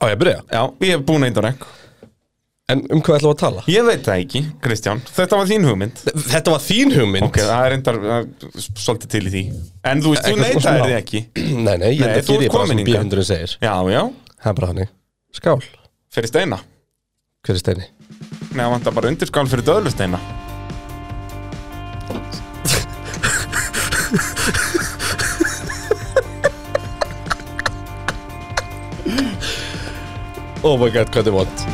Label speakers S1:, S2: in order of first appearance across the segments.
S1: Á ég að byrja?
S2: Já, ég hef búin einn og rekk
S1: En um hvað ætlum við að tala?
S2: Ég veit það ekki, Kristján, þetta var þín hugmynd
S1: Þetta var þín hugmynd
S2: Ok, það er reyndar uh, svolítið til í því En þú veist, þú
S1: Eitthvað
S2: neytaðir
S1: svona-
S2: því ekki
S1: Nei, nei, ég
S2: Nei,
S1: enda geri
S2: þú ert
S1: ég bara
S2: komin
S1: sem
S2: hingað.
S1: bíhundurinn segir
S2: Já, já,
S1: Það er bara hannig Skál
S2: fyrir steina
S1: Hver er steini?
S2: Nei, það vantar bara undirskál fyrir döðlusteina
S1: Oh my god, hvað er vond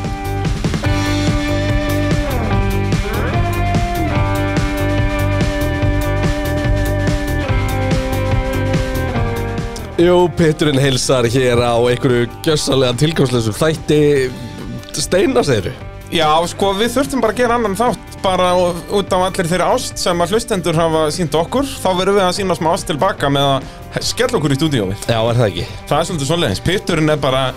S1: Jú, Peturinn heilsar hér á einhverju gjössalega tilgangslösu þætti Steina, segirðu?
S2: Já, sko, við þurftum bara að gera annan þátt bara og- út af allir þeirra ást sem að hlustendur hafa sínt okkur þá verðum við að sína smá ást tilbaka með að skella okkur í stúdíóið
S1: Já, er það ekki?
S2: Það er svolítið svoleiðis, Pitturinn er bara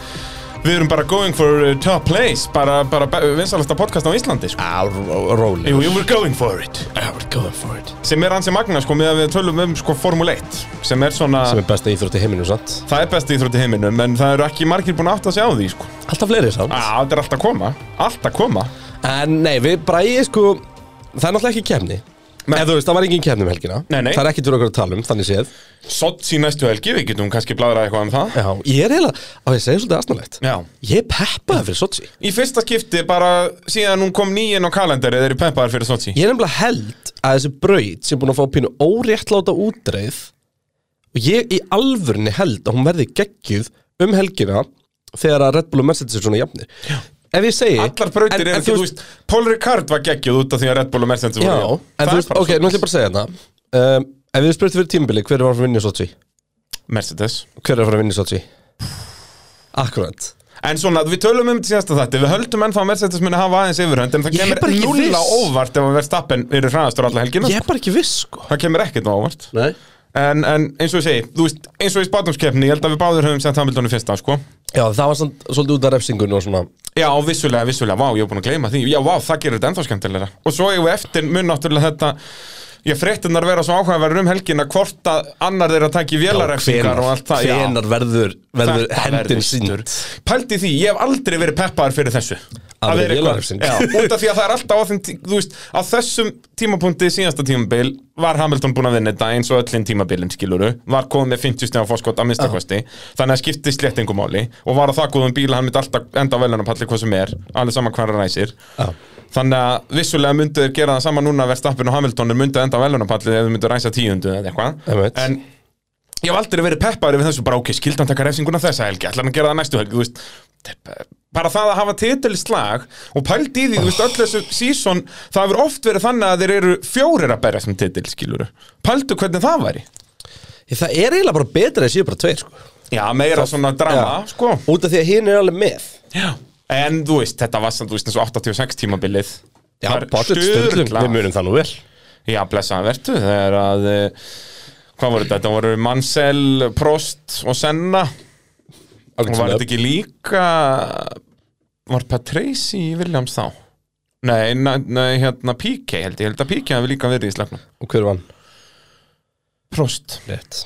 S2: við erum bara going for uh, top place bara, bara vinsalasta podcast á Íslandi sko.
S1: Á, ró- rólegur
S2: Jú, jú, we're going for it
S1: I would go for it
S2: sem er ansi magna, sko, með að við tölum um sko, Formule 1, sem er svona
S1: Sem er besta íþrótti heiminum, sant?
S2: það er besti íþrótt í heiminum, en það eru ekki margir búin að átta sig á því, sko
S1: Alltaf fleiri, sant?
S2: Já, þetta er allt að koma, allt að koma
S1: En nei, við bræði sko Það er náttúrulega ekki kemni
S2: Nei.
S1: Eða þú veist, það var engin kemni um helgina
S2: Nei, nei.
S1: Það er ekkert fyrir okkur að tala um, þannig séð
S2: Sotts í næstu helgi, við getum kannski bladrað eitthvað um það
S1: Já, ég er eiginlega Á, ég segi svolítið aðsnálegt
S2: Já
S1: Ég er peppaði fyrir Sochi
S2: Í fyrsta skipti bara síðan hún kom nýinn á kalendarið er í pempaðar fyrir Sochi
S1: Ég er nefnilega held að þessi braut sem er búin að fá pínu óréttláta útreið Og ég í alvörni held að hún verði geggjuð um helgina Þegar að Red Bull og Mercedes er svona jafnir Já. Ef ég segi
S2: Allar
S1: en-
S2: brautir eru
S1: en
S2: ekki, þú veist, Paul Ricard var geggjuð út af því að Red Bull og Mercedes voru
S1: Já, en
S2: jafn. Það
S1: þú
S2: er
S1: veist,
S2: bara
S1: ok, nú ætlum ég bara að segja þetta um, Ef við spurtum fyrir tímbili, hver var að vinna í Sochi?
S2: svo. Mercedes
S1: Hver er að fara að vinna í Sochi? Akkurat
S2: En svona, við tölum um til síðasta þetta Við höldum ennþá að Mercedes muni hafa aðeins yfirhönd En það
S1: Ég er bara
S2: kemur
S1: ekki
S2: nulla
S1: viss.
S2: óvart ef að Verstappen eru hraðastur alla helgina
S1: Ég er bara ekki viss sko
S2: Það kemur ekkert á óvart
S1: Nei
S2: En, en eins og ég segi, þú veist, eins og í spátumskeppni, ég held að við báður höfum sett Hamilton í fyrsta, sko.
S1: Já það var samt, svolítið út af refsingunni og svona
S2: Já, vissulega, vissulega, vá, ég er búin að gleyma því. Já, vá, það gerir þetta ennþá skemmtilega. Og svo eigum við eftir mun náttúrulega þetta, já, fréttinnar vera svo áhugaverður um helgina, hvort að annar þeirra taki vélarefsingar og allt það. Já,
S1: Hvenar verður, verður
S2: Þetta
S1: hendin
S2: verður
S1: sínd
S2: Pældi því, ég hef aldrei verið peppaður fyrir þessu.
S1: Að vera
S2: vera
S1: vélarrefsing.
S2: eitthvað- Já, út af því að það er alltaf á þeim, tí- þú veist, á þessum tímapunkti síðasta tímabil var Hamilton búin að vinna þetta eins og öllin tímabilin skiluru, var komið með 50 stjá fórskot að minnstakosti, þannig að skipti sléttingumáli og var á það góðum bíl að hann myndi alltaf enda á velunarpalli hvað sem er, alveg sama hvað hann ræsir.
S1: Já.
S2: Þannig að vissulega myndu þeir gera það sama núna Verstappen og Hamilton er myndu enda á velunarpalli ef þeir myndu ræsa tíundu eða
S1: Einmitt.
S2: eitthvað en ég hef aldrei verið peppaður við þessu bara ok, skildi hann taka refsinguna þessa helgi ætlar hann að gera það næstu helgi, þú veist þetta er bara það að hafa titilslag og pælt í því, þú veist, öll þessu sísón það hefur oft verið þannig að þeir eru fjórir að berja sem titil, skiluru pæltu hvernig það væri
S1: Það er eiginlega bara betra en séu bara tveir sko
S2: já, meira svona drama, sko
S1: Út af því að hinn er alveg með
S2: já. en þú veist, þetta var samt, þú veist, eins og 86 tímabilið
S1: Já,
S2: Það er
S1: Patrik Sturlum,
S2: sturlað.
S1: við munum það nú vel
S2: Já, blessaðan vertu, þegar að eh, hvað voru þetta, þetta voru Mansell, Prost og Senna og var þetta ekki líka var Patrese í Williams þá? Nei, nei, nei hérna P.K. held ég, held að P.K. hefur líka verið í sleppnum
S1: Og hver vann?
S2: Prost,
S1: Rétt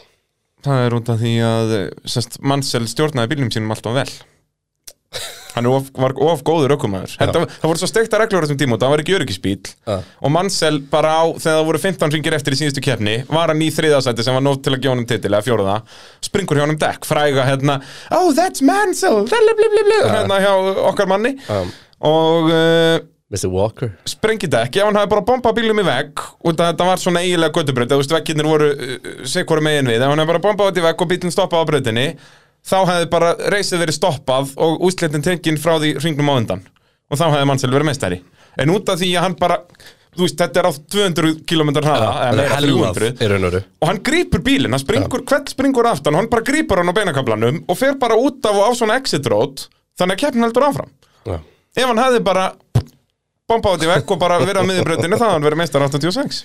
S2: það er út af því að eh, semst, Mansell stjórnaði bílnum sínum alltaf vel Hann er of, var of góður ökumæður Þetta, Það voru svo stekta reglur á þessum tíma og það var ekki öryggisbíl
S1: Já.
S2: og Mansell bara á þegar það voru 15 ringir eftir í síðustu keppni var hann í þriðasæti sem var nótt til að gefa honum titil eða fjóruða springur hjá honum dekk fræga hérna oh that's Mansell blibli, blibli, blibli, hérna hjá okkar manni
S1: Já.
S2: og uh,
S1: Mr. um, Walker
S2: sprengi dekk ef hann hafi bara bombað bílum í vegg og þetta var svona eiginlega göttubraut eða þú veist vegginir voru uh, sekkur megin við ef hann hafi bara bombað út í vegg og bílinn stoppað á brautinni þá hefði bara reysið verið stoppað og úslitin tengin frá því ringnum á undan og þá hefði Mansell verið meistari en út af því að hann bara þú veist þetta er á 200 km hraða eða meira 300
S1: er unnuru
S2: og hann grípur bílinn, hann springur, hvert springur aftan hann bara grípur hann á beinakablanum og fer bara út af og á svona exit road þannig að keppnin heldur áfram
S1: Já
S2: ef hann hefði bara bombað út í vekk og bara verið á miðinbröðinu það hann verið meistar 86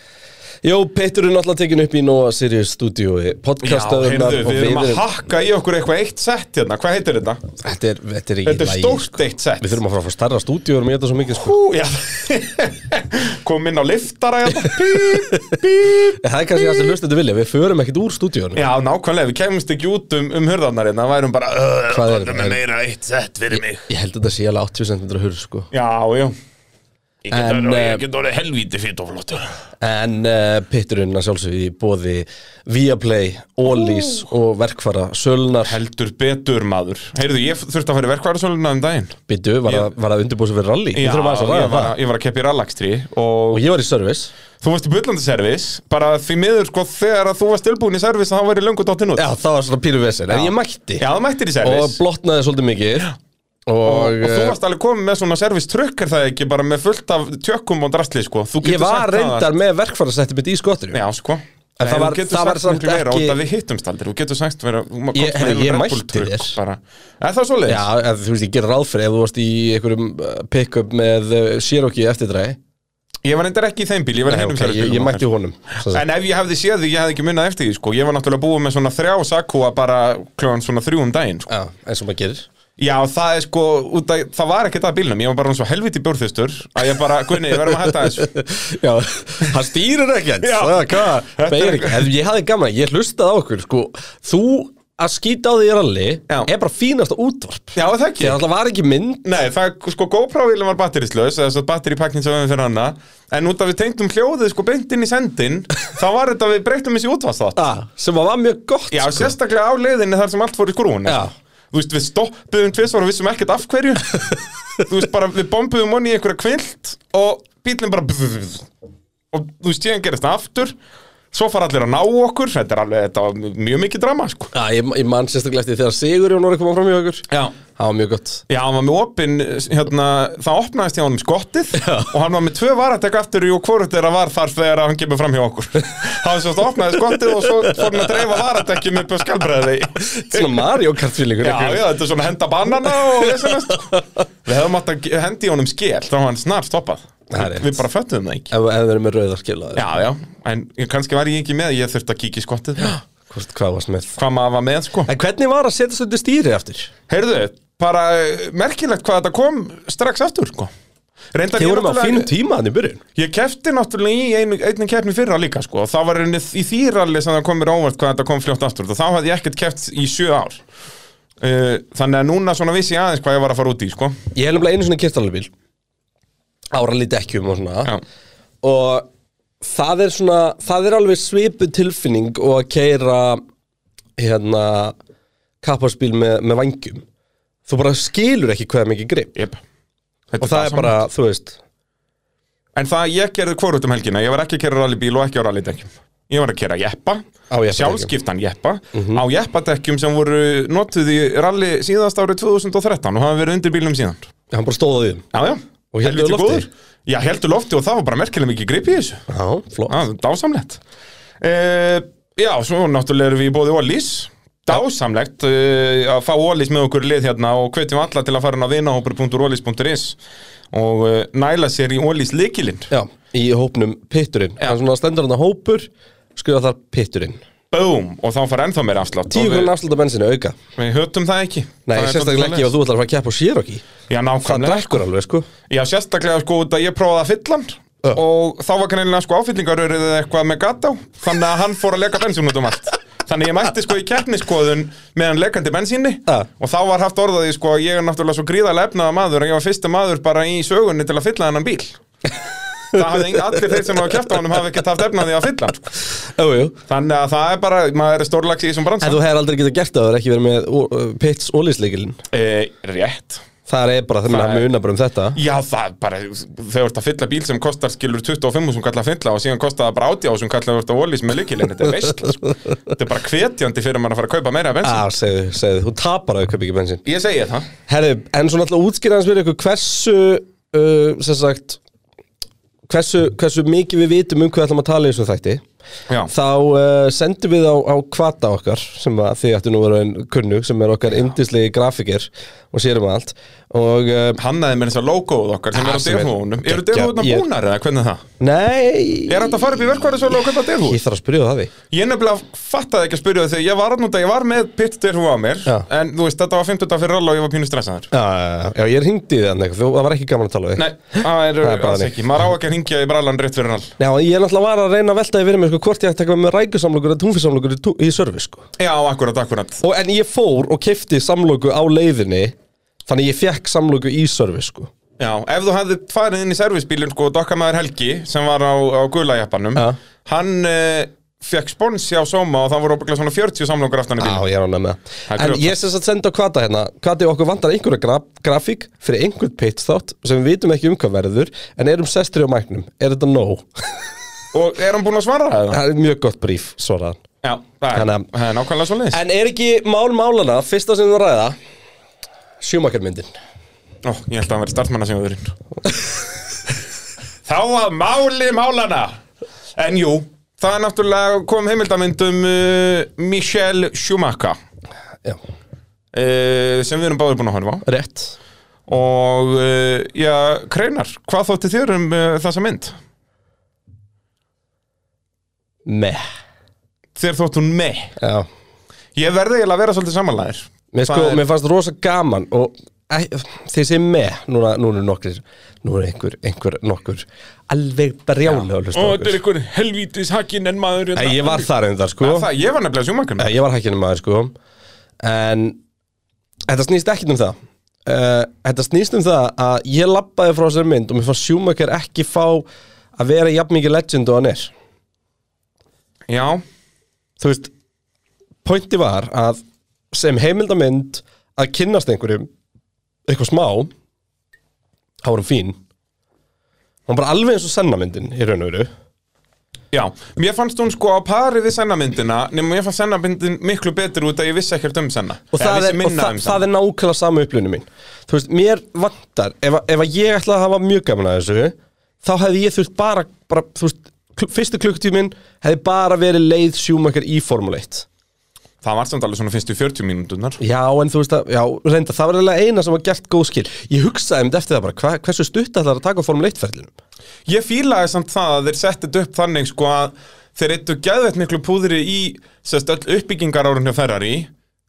S1: Jó, Petur er náttúrulega tekin upp í Nóa Sirius stúdíói Podcastöðunar
S2: heyrðu, við erum að hakka í okkur eitthvað eitt sett hérna, hvað heitir þetta?
S1: Þetta er, þetta er ekki
S2: Þetta er
S1: lagi, sko.
S2: stórt eitt sett
S1: Við þurfum að fara að fá starra stúdíórum í þetta svo mikið sko.
S2: Hú, já Kom inn á liftara hérna Bíp, bíp
S1: Það er kannski það sem hlustandi vilja, við förum ekkit úr stúdíórum
S2: Já, nákvæmlega, við kemumst ekki út um, um hörðarnar hérna, værum bara "Ugh,
S1: Hvað er
S2: Komdu
S1: þetta?
S2: með meira eitt sett fyrir mig
S1: Ég held að þetta sé alveg 80 cm hurð sko.
S2: Já, já Ég get
S1: En,
S2: orðið-
S1: eh,
S2: Ég get orðið helvíti fyrir og flottur
S1: En uh, Peturinn að sjálfsögði bóði Viaplay, Ólís og verkfara Sölunar
S2: Heldur betur maður Heyrðu, ég þurfti að fara í verkvarðarsöluna um daginn
S1: Bittu, var, að- var að undirbúið sér fyrir rally
S2: Já,
S1: Við
S2: ég
S1: þurfum aðeins að ræða
S2: var,
S1: það
S2: að- ég var að keppa í rallakstri og
S1: Og ég var í service
S2: þú varst í bullandi servis bara því miður sko þegar að þú varst tilbúin í servis þá væri löngu dottin út
S1: Já, það var svona pínu vesen En
S2: Já.
S1: ég mætti
S2: Já, þú mættir í
S1: Og
S2: servis og,
S1: blotnaði svolítið mikið Og,
S2: og þú
S1: eh,
S2: varst alveg komið með svona servis trukk er það ekki bara með fullt af tjökkum og drastli sko Þú
S1: Ég
S2: getur
S1: var
S2: sagt það að-
S1: reyndar með verkfærasettið mitt í skottinu
S2: Já, sko
S1: En það
S2: Nei,
S1: var-
S2: þú getur
S1: það var
S2: sagt
S1: samt
S2: miklu meira,
S1: ekki-
S2: út af Við hittumst aldrei, þú getur sagt vera, þú komst
S1: Ég- ég
S2: með Red Bull
S1: mætti
S2: trukk
S1: þér.
S2: bara. Er það svoleiðis?
S1: Já, en, þú veist, ég gerir ráð fyrir ef þú varst í einhverjum uh, pick-up með uh, Cherokee eftirdræði
S2: Ég var reyndar ekki í þeim bíl, ég var
S1: Nei,
S2: í hinum
S1: ok,
S2: servisbílnum
S1: ég, ég
S2: okkar.
S1: mætti honum svo sem.
S2: En ef ég hefði séð því, ég hefði ekki munnað eftir því, sko. Ég var náttúrulega búið með svona þrjá sakúa bara kljóðan svona þrjú um daginn, sko.
S1: Já, eins og maður gerir
S2: Já, það er sko, út að, það var ekki það bílnum. Ég var bara svona svo helviti bjórþustur að ég bara, Gunni, við verðum að hætta þessu.
S1: Já, hann stýrir ekkert
S2: Já.
S1: það, hvað,
S2: Þetta er
S1: beir ekki
S2: eitthvað-
S1: En Ég hafði gaman, ég hlustaði á okkur sko, Þú að skýta á því í ralli
S2: Já.
S1: er bara fínasta útvarp
S2: Já, það
S1: Þegar
S2: ekki.
S1: alltaf var ekki mynd
S2: Nei, það, sko, GoPro-vílum var batterislaus, þess að batteripakkin sem við höfum fyrir hana, en út að við tengdum hljóðið, sko, beint inn í sendin, þá var þetta við breyttum þessi útvarsþátt.
S1: ah, sem var mjög gott
S2: Já,
S1: sko.
S2: sérstaklega á leiðinni þar sem allt fór í skrúin
S1: Já.
S2: Þú veist, við stoppuðum tvisvar og vissum ekkert af hverju Þú veist, bara við bombuðum honni í einhverja kvilt og bílinn bara bzzz, og þú veist, síðan gerist það aftur Svo fara allir að ná okkur Þetta er alveg, þetta var mjög mikið drama, sko
S1: Já, ég, ég man sérstaklega eftir þegar Sigurjón voru að koma fram í okkur
S2: Já
S1: Það var mjög gott
S2: Já, hann var með opinn, hérna, það opnaðist hjá honum skottið og hann var með tvö varatek aftur í og hvorut þeirra var þar þegar hann kemur fram hjá okkur. hann svo opnaði skottið og svo fór hann að dreifa varatekjum upp á skalbreði.
S1: Svona Mario Kart-fílingur
S2: Já, já, þetta er svona henda banana og vesenast Við hefum átt að ge- henda í honum skél þá var hann snart stoppað
S1: Það er rétt.
S2: Við bara föttuðum það ekki
S1: Ef ef við erum með rauðar skilaði
S2: Já, já, en ég- kannski var ég ekki með ég þurfti að kíkja í skottið
S1: Hvort hvað varst með
S2: Hvað maður var með, sko
S1: En hvernig var að setja svolítið stýri aftur?
S2: Heyrðu, bara eh, merkilegt hvað þetta kom strax aftur, sko
S1: Þið
S2: Reyndar ég
S1: vorum á
S2: náttúrulega-
S1: fínum tíma hann í byrjun
S2: Ég kefti náttúrulega í einu, einu keppni fyrra líka sko og það var rauninni í þýralli sem það kom mér á óvart hvað þetta kom fljótt aftur og þá hafði ég ekkert keft í sjö ár uh, Þannig að núna svona vissi ég aðeins hvað ég var að fara út í sko
S1: Ég hef nefnilega einu svona kirtalabíl Ára lítið ekki um og svona
S2: Já.
S1: Og það er svona Það er alveg svipu tilfinning Og að keira Hérna Kapparspíl með, með vangjum Þú bara skilur ekki hvað er mikið grip
S2: Jep. Þetta
S1: Og það er
S2: sama.
S1: bara, þú veist
S2: En það ég gerði hvorut um helgina Ég var ekki að kera rallybíl og ekki á rallydekkjum Ég var að kera jeppa,
S1: Á jeppadekkjum. Mhm.
S2: sjálfskiptan jeppa Á jeppadekkjum sem voru notuð í rally síðast árið 2013 Og hafa verið undir bílum síðan
S1: Hann bara stóð á því
S2: Já, já,
S1: Og héldu
S2: Helviti
S1: lofti?
S2: góður. Já, heldur lofti og það var bara merkilega mikið grip í þessu
S1: Já, flott
S2: Já, Ah, dásamlegt uh, Já, svo náttúrulega erum við í bóði Ólís Dásamlegt uh, að fá Ólís með okkur í lið hérna og hvetjum alla til að fara hann á vinahópur.ólís.is og uh, næla sér í Ólís likilinn
S1: Já, í hópnum Pitturinn Hann svona stendur hann að hópur Skrifa þar Pitturinn
S2: Búm, og þá fara ennþá meira afslátt
S1: Tíu
S2: Og við,
S1: grunn afsluta bensinu auka
S2: við hötum það ekki
S1: Nei,
S2: það er
S1: sérstaklega
S2: svolítið
S1: ekki og þú ætlar að fara að keppa á Cherokee
S2: svoleiðis. Já,
S1: Það
S2: nákvæmlega
S1: drekkur alveg, sko
S2: Já, sérstaklega sko út að ég prófaði að fylla hann
S1: Já.
S2: og þá var kannilega sko áfyllingarörið eða eitthvað með gata á þannig að hann fór að leka bensín út um allt þannig ég mætti sko í keppniskoðun meðan lekandi bensínni
S1: Já.
S2: og þá var haft orðaði sko að ég er náttúrulega svo gríðarlega efnaða maður að ég var fyrsti maður bara í sögunni til að fylla hennan bíl það hafði engin- allir þeir sem hafa keppt á honum hafi ekkert haft efnaði að fylla hann sko.
S1: Jú, jú
S2: þannig að það er bara, maður er stórlags í þessum bransa
S1: En þú hefur aldrei getað gert það, þú hefur ekki verið með ó- ö, Pits ólýsleikilinn
S2: e, rétt
S1: Það er bara, þannig
S2: Það
S1: að
S2: er-
S1: við unna bara um þetta
S2: Já, það er bara, þegar þú ert að fylla bíl sem kostar skilur 25 sem kallar að fylla og síðan kostar það bara 80 sem kallar að þú ert að ólís með lykilinn, þetta er veistla sko. Þetta er bara hvetjandi fyrir mann að fara að kaupa meira bensin.
S1: Á, Ah, segðu, segðu, þú tapar að kaupa ekki bensin
S2: Ég segi það.
S1: Herri, en svo náttúrulega útskýra hans fyrir ykkur hversu uh, sem sagt hversu, hversu mikið við vitum um hvað ætlum að tala í þessu þætti
S2: Já.
S1: þá uh, sendum við á, á kvata okkar sem að þið ættu nú að vera en kunnug sem er okkar indislegi grafikir og sérum allt og uh,
S2: Hannaði með þess að logoð okkar sem
S1: Ah,
S2: er á
S1: sem er
S2: devónum Eru
S1: geggjað.
S2: devónum
S1: Ég-
S2: búnar eða hvernig er það?
S1: nei
S2: Er þetta að fara upp í verkvarðisölu og kaupa devú?
S1: ég þarf að spyrja það því
S2: Ég nefnilega fattaði ekki að spyrja þau Ég var annúnda, ég var með pitt devú á mér
S1: Já.
S2: En þú veist, þetta var 50 dag fyrir alla og ég var pínu stressaður
S1: já, já, já, ég ringdi í þannig þú, það var ekki gaman að tala við
S2: Nei, það
S1: Það
S2: er
S1: er bara
S2: alls
S1: þannig.
S2: ekki Maður á ekki að hringja í brallan rétt fyrir all
S1: Já, ég er náttúrulega var að reyna að velta yfir mig sko, hvort ég ætti að taka með rækusamlokur eða túnfisamlokur í, tú- í service sko.
S2: Já, akkurat, akkurat
S1: og, En ég fór og kefti samloku á leiðinni Þannig ég fekk samloku í service sko.
S2: Já, ef þú hafði farið inn í servisbílun sko, dokkamaður Helgi sem var á, á gulajappanum
S1: Já.
S2: hann uh, fekk sponsi á Soma og það voru okkur svona 40 samlungur aftan í
S1: Já,
S2: bílun
S1: ég er ánægð með
S2: Það
S1: það
S2: er
S1: En
S2: grjótart.
S1: ég sem sagt sendi á kvata hérna Kvati okkur vantar einhverja graf, grafík fyrir einhvern pitch þátt sem við vitum ekki um hvað verður en erum sestri á mæknum, er þetta nóg?
S2: og er hann búinn að svara það?
S1: það er mjög gott bríf, svaraðan
S2: Já, það er,
S1: Þannig að-
S2: það er nákvæmlega svo leiðis
S1: En er ekki mál málana, fyrsta sem þú ræða Sjúmakarmyndin
S2: Ó, ég held að hann verið startmannasjóðurinn Þá að máli málana En jú, það er náttúrulega kom heimildamynd um uh, Michelle Schumacher
S1: Já,
S2: uh, sem við erum báður búin að horfa á
S1: rétt
S2: Og uh, já, Kreinar, hvað þótti þér um uh, þessa mynd?
S1: Meh
S2: Þér þótt hún með
S1: Já,
S2: Ég verði eiginlega að vera svolítið samanlæðir
S1: Mér, sko,
S2: Það er-
S1: mér fannst rosa gaman og æ, þeir sem með, núna, núna er nokkur núna er einhver, einhver nokkur alveg brjálega að hlusta á okkur
S2: einhver helvítis hakinn en maður
S1: Nei, ég var þar en þar sko
S2: það, Ég var nefnilega sjúmakan
S1: Nei, ég var hækkinum maður sko en þetta snýst ekkert um það uh, þetta snýst um það að ég labbaði frá þessari mynd og mér fannst Schumacher ekki fá að vera jafn mikið legend og hann er
S2: Já,
S1: þú veist, pointi var að sem heimildamynd að kynnast einhverjum eitthvað smá þá var hann fín hann var bara alveg eins og sennamyndin í raun og veru
S2: já Mér fannst hún sko á pari við sennamyndina Nefnum mér fannst sennamyndin miklu betur út að ég vissi um ekkert um senna
S1: og, það er, og það, það er nákvæmlega sama upplunum mín þú veist, mér vantar ef, að- ef að ég ætlaði að hafa mjög gaman að þessu þá hefði ég þurft bara, bara þú veist, kl fyrstu klukkutíminn hefði bara verið leið sjúmakar í Formule 1
S2: það var samt alveg svona fyrstu 40 mínúturnar
S1: Já, en þú veist að, já, reynda, það var eiginlega eina sem var gert góð skil. Ég hugsaði um þetta eftir það bara, hva, hversu stutt ætlar að taka á Formule 1-ferðlinum?
S2: Ég fílaði samt það að þeir settu þetta upp þannig sko að þeir eittu geðveitt miklu púðri í sérst öll uppbyggingar árunni á Ferrari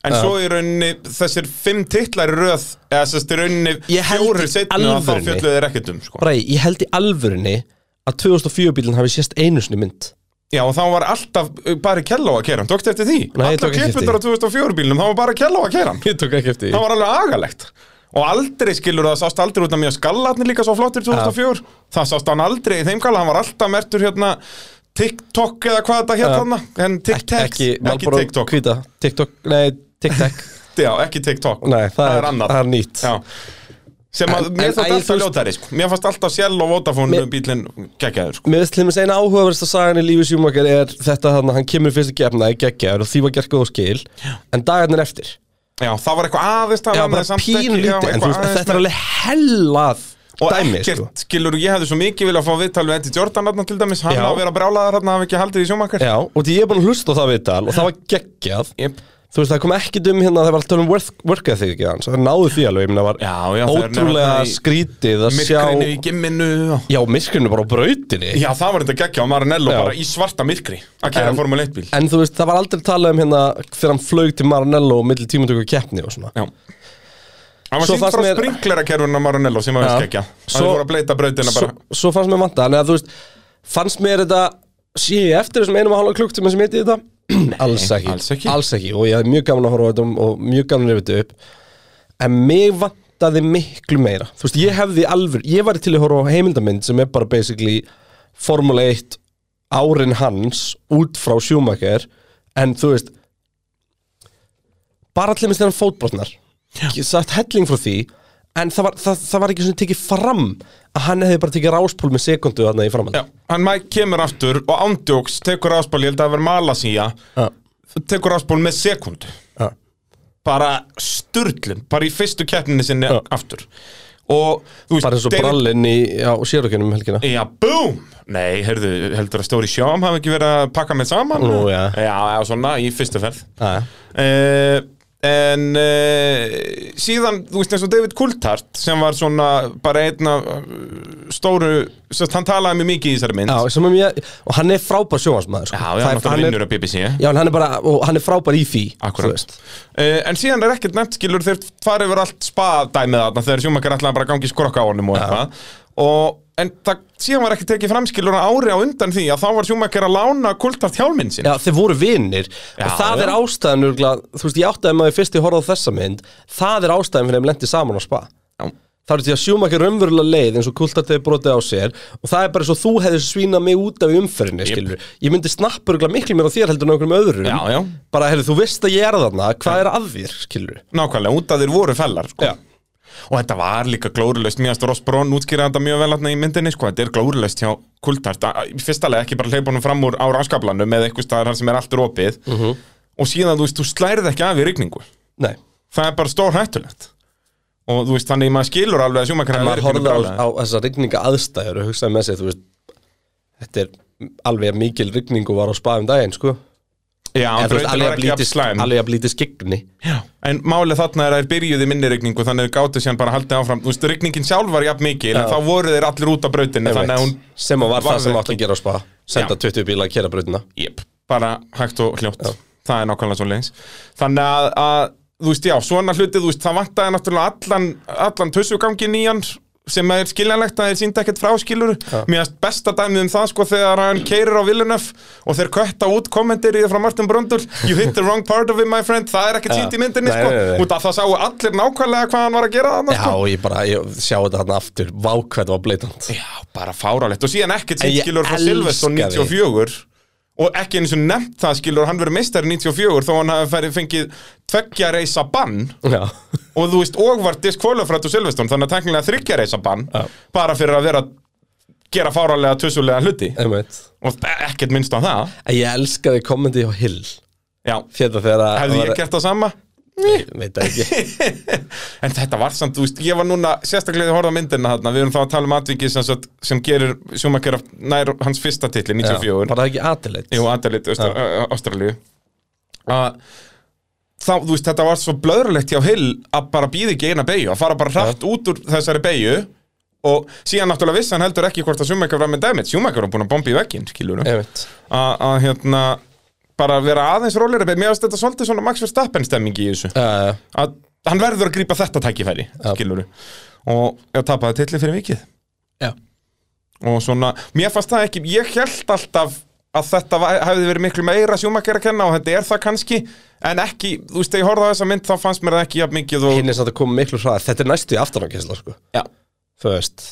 S2: en svo í rauninni þessir fimm titlar í röð eða sérst í rauninni
S1: Ég held í
S2: fjórir setna og þá
S1: alvörunni.
S2: fjölluðu þeir ekkert um sko.
S1: Bara, ég held í alvörunni að 2004 bílinn hafi sést einu sinni mynd.
S2: Já og þá var alltaf uh, bara Kelló að kera hann, tókstu eftir því?
S1: Nei, ég tók
S2: Allar
S1: ekki eftir
S2: klippundar á 2004 bílnum, þá var bara Kelló að kera hann
S1: Ég tók ekki eftir
S2: Það var alveg agalegt Og aldrei skilur það sást aldrei út af mjög skallatni líka svo flottir 2004 Það sást hann aldrei í þeim kalla, hann var alltaf mertur hérna TikTok eða hvað þetta hérna hann En TikTok,
S1: Ekki,
S2: ekki
S1: Malboro
S2: TikTok
S1: Kvíta, TikTok, nei, TikTok.
S2: Já, ekki TikTok
S1: nei, það,
S2: Það er
S1: er,
S2: annað.
S1: það er nýtt.
S2: Já. Sem
S1: En-
S2: að
S1: en-
S2: mér þótt
S1: en-
S2: alltaf
S1: þú-
S2: ljótari sko. Mér fannst alltaf Shell og Vodafone
S1: Mér-
S2: bílinn geggjaður sko.
S1: Mér veist til þess eina áhugaverðasta sagan í lífi sjúmakar er þetta þannig að hann kemur fyrst í gefna í geggjaður og því var gert góð skil, en dagarnir eftir.
S2: Já, það var eitthvað aðeins það
S1: Já,
S2: var
S1: bara
S2: samt ekki-
S1: pínu
S2: já,
S1: lítið, en þú
S2: eitthvað
S1: veist,
S2: aðeins
S1: þetta er
S2: með-
S1: alveg hellað
S2: Og
S1: dæmi,
S2: ekkert,
S1: sko.
S2: skilur, ég hefði svo mikið vilja að fá viðtal við Eddie Jordan hérna til dæmis, hann
S1: Já.
S2: á að vera brálaðar hérna, hafi ekki haldið í sjómakar
S1: Já, og því ég er búin að hlusta á það viðtal og það var geggjað
S2: yep.
S1: Þú veist, það kom ekki dum hérna að það var alltaf um work, work ethic ekki hans Það náðu því alveg, ég meina var
S2: Já, já, það er
S1: ótrúlega
S2: nefnilega í-
S1: skrítið að sjá
S2: Myrkrinu í gimminu og-
S1: Já, myrkrinu bara á brautinni
S2: Já, það var þetta geggja á Maranello
S1: Já.
S2: bara í svarta myrkri að kæra
S1: En-
S2: Formule 1 bíl
S1: En þú veist, það var aldrei talað um hérna þegar hann flög til Maranello og milli tímatöku keppni og svona
S2: Já Það var
S1: Svo
S2: sínt
S1: fannst
S2: frá
S1: mér-
S2: springlerakerfinu á Maranello sem var
S1: Já.
S2: veist geggja Það
S1: Svo-
S2: voru að bleita brautina
S1: svo,
S2: bara
S1: svo fannst mér vanta, þannig að þú veist fannst mér þetta sé ég eftir þessum einum að hálfa klukktum sem heiti þetta alls, ekki.
S2: alls ekki.
S1: og ég hafði mjög gaman að horfa á þetta um- og mjög gaman að rifja þetta upp en mig vantaði miklu meira þú veist, ég hefði alveg, ég var til að horfa á heimildamind sem er bara basically Formule 1 árin hans út frá Schumacher en þú veist bara allir minnst þegar hann fótbrotnar Ég satt helling frá því en það var, það, það var ekki svona tekið fram að hann hefði bara tekið ráspól með sekundu þarna í framhald
S2: Já, hann mæ- kemur aftur og ándjóks tekur áspál, ég held að það verið Malasía
S1: Já.
S2: tekur áspál með sekundu
S1: Já.
S2: bara sturlun bara í fyrstu keppninni sinni
S1: Já.
S2: aftur og þú veist
S1: Bara eins og
S2: David-
S1: brallinn í, á sérökjunum um helgina
S2: Já, búm! Nei, heyrðu, heldur að Stóri Sjám hafi ekki verið að pakka með saman?
S1: Nú, já.
S2: Já, já, svona, í fyrstu ferð.
S1: Æ.
S2: Uh, en uh, síðan, þú veist eins og David Coulthard, sem var svona bara einn af uh, stóru, sérst, hann talaði mjög mikið í þessari mynd.
S1: Já, sem um ég, og hann er frábær sjóhansmaður sko.
S2: já, já
S1: Það
S2: hann náttúrulega
S1: hann
S2: vinnur á BBC.
S1: Já, en hann er bara, og hann er frábær í því þú
S2: Akkurat
S1: veist.
S2: uh, En síðan er ekkert nefnt skilur þeir farið yfir allt spa-dæmið þarna þegar sjúmakar ætlaði bara að gangi skrokka á honum og eitthvað og, En það, síðan var ekki tekið fram skilur að ári á undan því að þá var sjúmakar að lána kultart hjálminn sinn
S1: Já, þeir voru vinnir
S2: Já,
S1: og það
S2: já.
S1: er ástæðan örgla, þú veist, ég áttaði maður fyrst ég horfði á þessa mynd það er ástæðan fyrir þeim lendi saman á spa
S2: Já.
S1: Það er því að sjúmakir raunverulega leið eins og kultart hefur brotið á sér og það er bara svo þú hefðir svínað mig út af í umferðinni, skilur Ég myndi snappurugla miklu mér á þér heldur en á einhverjum öðrum
S2: Já, já.
S1: Bara, heyrðu, þú veist að ég er þarna, hvað er að þér, skilur
S2: Nákvæmlega, út að þeir voru fellar sko.
S1: Já.
S2: Og þetta var líka glóruleust Mjög að Ross Brón útskýraði þetta mjög vel þarna í myndinni sko. Þetta er glóruleust hjá kultart Fyrstalega ekki bara hleypa honum fram úr á ráskablanum eða eitthvað staðar sem er allt ropið
S1: Mhm.
S2: Og síðan, þú veist, þú slærið ekki af í rigningu
S1: Nei,
S2: það er bara stór hættulegt og þú veist, þannig maður skilur alveg að sjúmakar
S1: en maður horfði á, á þessa rigninga aðstæður og hugsaði með sér, þú veist þetta er alveg mikil rigning og var á spaðum daginn, sko
S2: já,
S1: en þú veist,
S2: brautin
S1: alveg að
S2: var ekki jafn
S1: blíti
S2: slæm
S1: alveg að blíti skigni
S2: Já. en málið þarna er að þeir byrjuðu minni rigningu þannig þeir gáttu síðan bara að halda áfram þú veist, rigningin sjálf var jafn mikil en
S1: Já.
S2: þá voru þeir allir út af brautinni þannig að hún,
S1: sem að var það
S2: varð
S1: sem
S2: ekki.
S1: átti að gera á spa senda 20 bíla að kera brautina
S2: jep, bara hægt og hljótt það er nákvæmlega svo leins þannig að, að, þú veist, já, svona hluti þú veist, það vantaði náttúrulega allan, allan tussugangin í hann sem er skiljanlegt að þeir sýnda ekkert fráskilur mér erst besta dæmið um það sko þegar hann keirir á Villeneuve og þeir kötta út kommentir í það frá Martin Brundle you hit the wrong part of it my friend það er ekkert
S1: Já.
S2: sýnt í myndinni
S1: Nei,
S2: sko
S1: nei, nei.
S2: út af það sáu allir nákvæmlega hvað hann var að gera þarna
S1: já,
S2: sko
S1: og ég bara, ég sjá þetta hann aftur vákvæð var bleitant
S2: já, bara fáralegt og síðan ekkert
S1: En
S2: sýnt
S1: ég
S2: skilur frá
S1: elska
S2: Silveston
S1: þig.
S2: 94 og ekki eins og nefnt það skilur hann verið meistari 94 þó hann hafi færið fengið tveggja reisa bann
S1: já,
S2: og þú veist, og var diskvólafrætt og Silveston þannig að teknilega þryggja reisa bann
S1: Já.
S2: bara fyrir að vera að gera fáralega tussulega hluti
S1: einmitt
S2: og e- ekkert minnst á það
S1: en ég elskaði kommenti hjá Hill
S2: já,
S1: þetta þegar að
S2: hefði ég
S1: var-
S2: gert það sama
S1: Ég veit það ekki
S2: en þetta var samt, þú veist, ég var núna sérstaklega að horfa á myndina þarna, við erum þá að tala um atvikið sem, sagt- sem gerir Schumacher nær hans fyrsta titli,
S1: Já,
S2: 94
S1: bara ekki atilegt
S2: Jú, Adalit, Ástralíu að þá, þú veist, þetta var svo blöðrulegt hjá Hill að bara býði ekki eina beigju, að fara bara hratt út úr þessari beigju og síðan náttúrulega vissi hann heldur ekki hvort að Sjúmækar var með dæmið, Sjúmækar var búin að bomba í vegginn, skilur við,
S1: einmitt
S2: að hérna bara vera aðeins róleira, beigju, mér finnst þetta svolítið svona Max Verstappen stemming í þessu
S1: uh,
S2: að hann verður að grípa þetta tækifæri, skilur við og ég tapaði titli fyrir vikið
S1: já
S2: og svona, mér fannst það ekki ég held alltaf að þetta var, hefði verið miklu meira sjúmakar að kenna og þetta er það kannski, en ekki þú veist, þegar ég horfði á þessa mynd þá fannst mér það ekki jafn mikið og,
S1: hinn er samt að koma miklu hraðar þetta er næstu í aftanákessla sko
S2: já,
S1: þú veist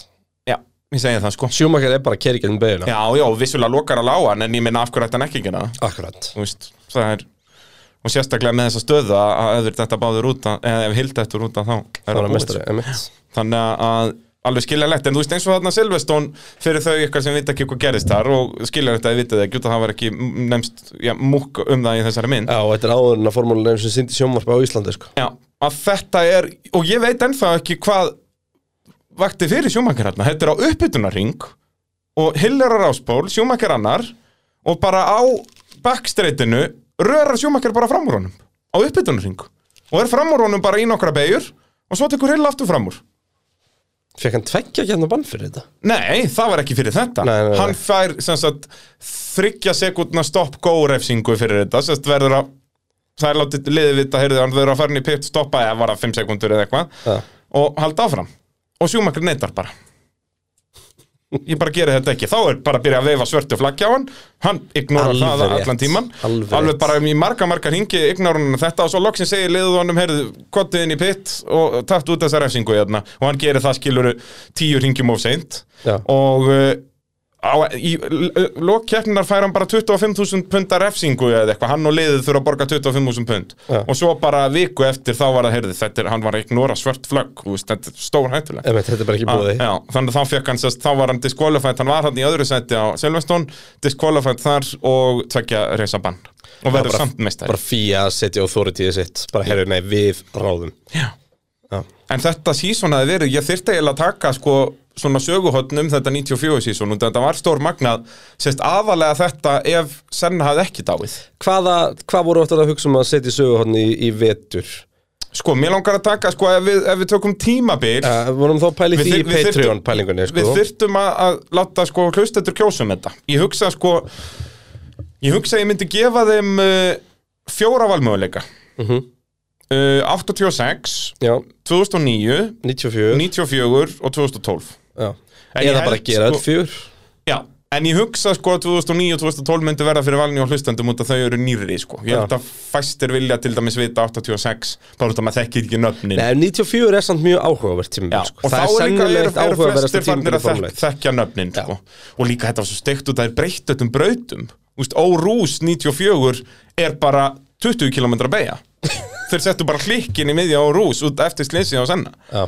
S2: já, ég segi það sko
S1: sjúmakar er bara að kera í gegnum beiguna
S2: já, já, vissulega lokar að lága hann, en ég minna af hverju ætti hann ekki að gera það,
S1: akkurat
S2: þú veist, það er og sérstaklega með þessa stöðu að- að öður þetta báður út að, eða ef hildi þetta út að þá
S1: það
S2: er það
S1: var
S2: búið,
S1: mestari einmitt
S2: þannig að alveg skiljanlegt, en þú veist eins og þarna Silveston fyrir þau ykkar sem vita ekki hvað gerist þar og skiljanlegt að þið vitið ekki, út að það var ekki nefnst, já, múk um það í þessari mynd
S1: Já, og þetta er áður en að formúlunum sem sindi sjónvarpa á Íslandi sko.
S2: Já, að þetta er og ég veit ennþá ekki hvað vakti fyrir sjúmakar hérna, þetta er á uppbytunarring og hillarar áspól, sjúmakar annar og bara á backstreitinu rörar sjúmakar bara fram úr honum á uppbytunarring og er fram úr honum bara í nokkra beigur og svo tekur hill aftur fram úr
S1: Fekk hann tveggja gætna bann fyrir þetta?
S2: Nei, það var ekki fyrir þetta
S1: Nei, nei, nei.
S2: Hann fær sem sagt þryggja sekundna stopp go-refsingu fyrir þetta sem sagt verður að það er látið liðið vita, heyrðu, hann verður að fara inn í pitt stoppa eða var það 5 sekundur eða eitthvað
S1: Já.
S2: og halda áfram og sjúmakri neytar bara Ég bara geri þetta ekki, þá er bara að byrja að veifa svörtu flaggja á hann hann ignorar
S1: Alveg
S2: það
S1: rétt.
S2: allan tíman
S1: Alveg rétt.
S2: bara um í marga marga ringi ignorar hann um þetta og svo loksin segir liðið honum heyrðu, kottið inn í pitt og takt út þessa refsingu hérna og hann gerir það skilur tíu ringjum of seint
S1: Já.
S2: og uh, á, í lokkeppninar fær hann bara 25.000 pund að refsingu eða eitthvað, hann og liðið þurfa að borga 25.000 pund
S1: Já.
S2: og svo bara viku eftir þá var það, heyrðu, þetta er, hann var að ignora svört flögg, þú veist, þetta er stór hættuleg
S1: Emmett, þetta er bara ekki búið
S2: Ah, Já, þannig að þá fekk hann sérst, þá var hann disqualified, hann var hann í öðru seti á Selvestón, disqualified þar og tvekja reysa bann og verður samt meistari
S1: Bara fía að setja authorityið sitt Bara herri, nei, við ráðum
S2: Já.
S1: Já.
S2: En þetta sísón hafi verið, ég þyrfti eiginlega að taka sko svona söguhotn um þetta 94 sísón og þetta var stór magnað, sérst aðalega þetta ef Senna hafði ekki dáið.
S1: Hvaða, hvað voru oft að hugsa um að setja í sögu hann í, í vetur?
S2: Sko, mér langar að taka, sko, ef við, ef við tökum tímabil,
S1: Uh, vorum þá pælið
S2: Eh, Við
S1: því í
S2: þyr- við þyrftum-
S1: Patreon-pælingunni, sko?
S2: við þyrftum að, að láta, sko, hlustendur kjósum þetta. Ég hugsa, sko, ég hugsa að ég myndi gefa þeim uh, fjóra valmöguleika.
S1: Mhm.
S2: Uh, 86,
S1: Já,
S2: 2009,
S1: 94.
S2: 94 og 2012.
S1: Já.
S2: En ég
S1: Eða
S2: held,
S1: bara gera
S2: sko-
S1: öll fjör.
S2: Já, en ég hugsa sko að 2009 og 2012 myndi verða fyrir valinu og hlustendum út að þau eru nýrri sko. Ég held
S1: Já.
S2: að fæstir vilja til dæmis vita 86, bara út að maður þekkir ekki nöfnin.
S1: Nei, en 94 er samt mjög áhugavert
S2: Já,
S1: tímabil, sko.
S2: og þá
S1: Það er
S2: er líka
S1: sennilega
S2: eru,
S1: eitt
S2: eru
S1: áhugaverðasta
S2: flestir farnir
S1: tímabil í
S2: að þek,
S1: Formule 1.
S2: þekkja nöfnin sko. og líka þetta var svo steikt út að það er breytt öllum brautum Úst, Órús 94 er bara 20 km að beigja þeir settu bara klikkin í miðja Órús út eftir slinsið á Senna
S1: Já.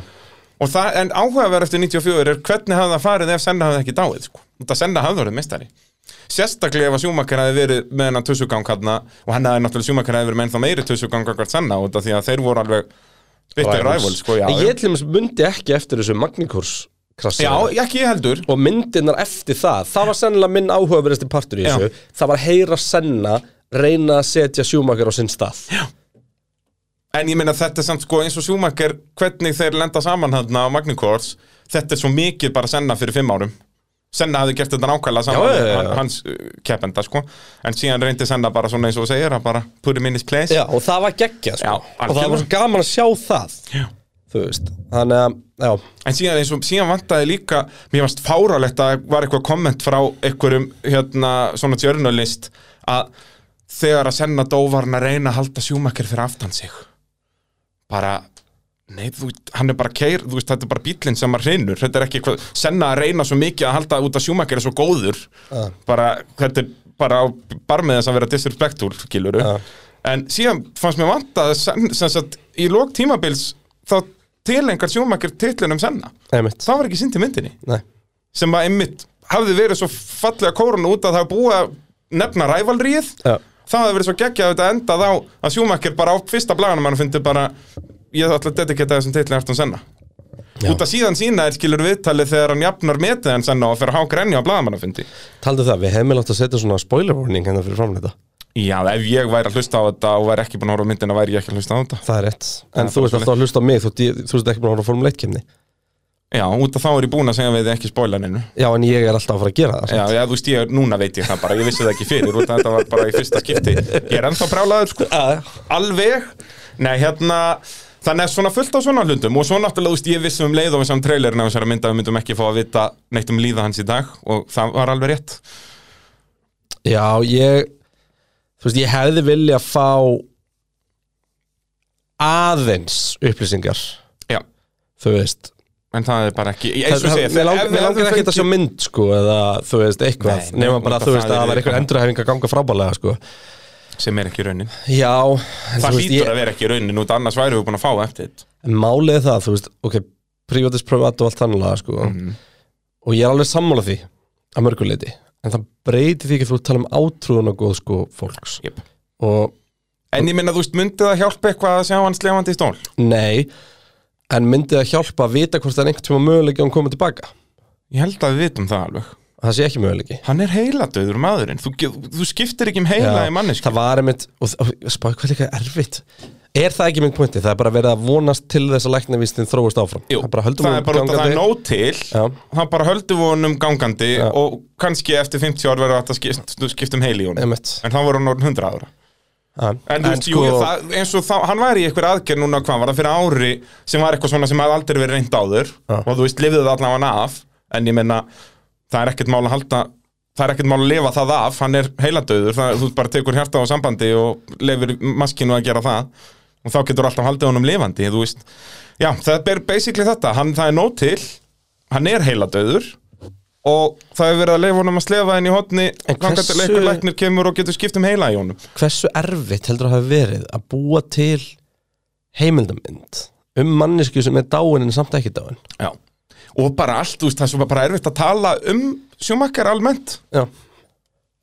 S2: og það, en áhugaverð eftir 94 er hvernig hafði það farið ef Senna hafði ekki dáið sko. þetta Senna hafði verið mistari sérstaklega ef að Sjúmakar hafði verið með hennan tussugang hérna og hann hafði náttúrulega Sjúmakar hafði verið með ennþá meiri tussugang akkvart Senna út af því að þeir voru alveg bitter
S1: Rivals.
S2: rivals sko, já,
S1: En
S2: já.
S1: Ég til dæmis myndi ekki eftir þessu Magnikurs krassi.
S2: Já, ekki ég heldur
S1: og myndirnar eftir það það var sennilega minn áhugaverðasti partur í þessu það var heyra senna reyna að setja sjúmakar á sinn stað já,
S2: En ég meina þetta er samt sko eins og Schumacher Hvernig þeir lenda saman hérna á Magnikors Þetta er svo mikið bara senna fyrir fimm árum Senna hafði gert þetta nákvæmlega saman
S1: Já, já, já, já.
S2: hann- Hans uh, keppenda sko En síðan reyndi senna bara svona eins og þú segir að bara Put him in his place
S1: og það var geggja
S2: Já,
S1: sko. og
S2: algjörlega.
S1: það var svo gaman að sjá það
S2: Já.
S1: þú veist þannig að, já,
S2: En síðan eins og síðan vantaði líka Mér varst fáralegt að var eitthvað komment frá Einhverjum hérna svona journalist Að þegar að senna dóvarn að reyna að halda Schumacher fyrir aftan sig bara Nei, þú, hann er bara keir, þú veist, þetta er bara bílinn sem að reynur, þetta er ekki eitthvað, senna að reyna svo mikið að halda út að sjúmakir er svo góður,
S1: Já.
S2: bara, þetta er bara á barmið þess að vera disrespektúl, skiluru,
S1: Já.
S2: en síðan fannst mér vant að, sem sagt, í lók tímabils, þá tilengar sjúmakir titlinum um senna,
S1: einmitt
S2: það var ekki sýnt í myndinni,
S1: Nei.
S2: sem að einmitt hafði verið svo fallega kórun út að það var búið að nefna rævalríð,
S1: Já.
S2: það hafði verið svo geggjað að þetta endað á að Schumacher bara á fyrsta blaganum hann fundi bara ég ætla að dediketa þessum teitlinn eftir hann senna
S1: Já.
S2: út að síðan sína er skilur viðtalið þegar hann jafnar metið hann senna og fer að há grenja á blagamann fundi
S1: taldu það, við hefum látt að setja svona spoiler warning hérna fyrir framleita
S2: já ef ég væri að hlusta á þetta og væri ekki búin að horfa á myndina væri ég ekki að hlusta á þetta
S1: það er rétt, en
S2: Það er
S1: þú veist
S2: bara
S1: alltaf að hlusta á mig þú, þú, þú veist ekki bara að horfa á Formule 1 kemni
S2: já út að þá er ég búin að segja við þið ekki spólaninu
S1: já, en ég er alltaf að fara að gera það
S2: já, já þú veist ég núna veit ég það bara ég vissi það ekki fyrir út að þetta var bara í fyrsta skipti ég er ennþá brálaður sko
S1: Já,
S2: alveg Nei, hérna Þannig að svona fullt á svona hlutum og svo náttúrulega, þú veist, ég vissum um leið og við saman trailerin af þessari mynd að við myndum ekki fá að vita neitt um líða hans í dag og það var alveg rétt.
S1: Já, ég þú veist, ég hefði vilja fá aðeins upplýsingar,
S2: Já,
S1: þú veist
S2: en það er bara ekki, ég eins og segja,
S1: Mér lang- mér langar ekki að sjá mynd, sko eða, þú veist, eitthvað,
S2: Nei,
S1: nema bara,
S2: nota
S1: þú veist,
S2: það
S1: að það
S2: er
S1: var eitthvað
S2: eitthvað.
S1: endurhæfing að ganga frábælega, sko
S2: sem er ekki raunin.
S1: Já, en
S2: Það
S1: þú
S2: hlýtur
S1: veist, ég,
S2: að vera ekki raunin út, annars væri við búin að fá eftir þetta.
S1: málið er það, þú veist ok, privatis privat og allt þannlega, sko
S2: Mhm.
S1: og ég er alveg sammála því að mörguleiti, en það breytir því ekki að þú ert að tala um átrúðun og góð, sko, fólks
S2: Jep.
S1: og
S2: En ég minna, þú veist, myndi það hjálpa eitthvað að sjá hans lefandi í stól?
S1: Nei, en myndi það hjálpa að vita hvort það er einhvern tíma möguleiki að hún komið tilbaka?
S2: Ég held að við vitum það alveg.
S1: Það sé ekki möguleiki.
S2: Hann er heiladauður maðurinn, þú, ge- þú skiptir ekki um heila í manneski.
S1: það var einmitt, og þ- og spáðu hvað líka er erfitt. Er það ekki minn pointi? Það er bara verið að vonast til þess að læknavístin þróast áfram.
S2: Jú,
S1: það er bara höldum
S2: það er
S1: honum
S2: bara út að það er
S1: gangandi.
S2: nóg til
S1: Já.
S2: það bara höldum við honum gangandi og kannski eftir 50 ár verður þetta skipt, skipt um heili í honum
S1: Einmitt.
S2: en þá voru hann orðin 100 ára
S1: Ja.
S2: en, þú veist, jú, það, eins og þá, hann væri í eitthvað aðgerð núna hvað var það fyrir ári sem var eitthvað svona sem hafði aldrei verið reynd áður
S1: Já.
S2: og þú veist, lifði það allavega af en ég menna, það er ekkert mál að halda það er ekkert mál að lifa það af hann er heiladauður, það, þú bara tekur hjarta á sambandi og lefur maskinu að gera það og þá getur alltaf haldið honum lifandi þú veist, já, það er basically þetta hann, það er nóg til, hann er heiladauður og það hefur verið að leifa honum að slefa henni í hotni
S1: En
S2: hversu...
S1: hversu-
S2: einhver læknir kemur og getur skipt um heila í honum
S1: Hversu erfitt heldur að hafa verið að búa til heimildamind um mannesku sem er dáin en samt ekki dáin?
S2: Já. Og bara allt, þú veist, það er svo bara erfitt að tala um sjómakkar almennt
S1: Já.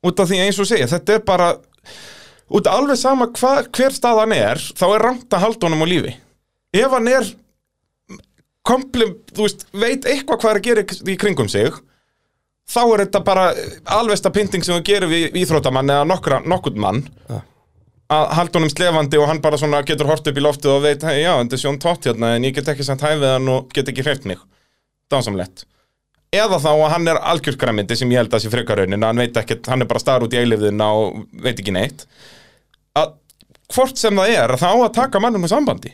S2: út af því eins og segja, þetta er bara út af alveg sama hva, hver staðan er þá er rangt að halda honum á lífi ef hann er komplim, þú veist, veit eitthvað hvað er að gera í kringum sig þá er þetta bara alvegsta pynting sem þú gerir við íþróttamann eða nokkra, nokkurt mann að halda honum slefandi og hann bara svona getur hort upp í loftið og veit, hei, já, þetta er sjón tótt hérna en ég get ekki sent hæfið hann og get ekki hreift mig dásamlegt eða þá að hann er algjörgræmyndi sem ég held að sé frekaraunin, hann veit ekkert, hann er bara star út í eilifðina og veit ekki neitt að hvort sem það er þá að taka mannum úr sambandi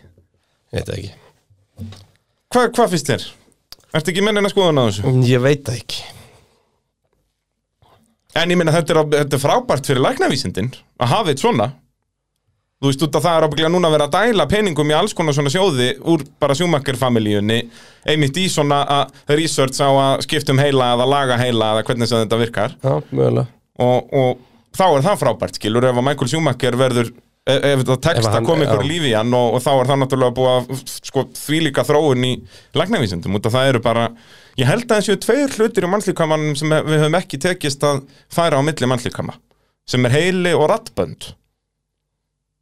S1: Ég veit það ekki
S2: Hva, hvað finnst þér? Ertu ekki mennin að skoðan á þessu?
S1: Mm, Ég veit það ekki
S2: En ég meina þetta er, þetta er frábært fyrir læknavísindin að hafa eitt svona Þú veist út að það er ábygglega núna að vera að dæla peningum í alls konar svona sjóði úr bara sjúmakkerfamiljunni einmitt í svona að research á að skipta um heila eða laga heila eða hvernig sem þetta virkar
S1: Já, mögulega
S2: og, og þá er það frábært skilur ef að Michael Schumacher verður ef, ef það
S1: Ef
S2: tekst
S1: að
S2: að
S1: hann-
S2: koma ykkur
S1: já.
S2: lífi í hann og, og þá er það náttúrulega búið að sko, þvílíka þróun í lagnavísindum út að það eru bara ég held að þessu tveir hlutir í mannslíkamannum sem við höfum ekki tekist að færa á milli mannslíkama sem er heili og rattbönd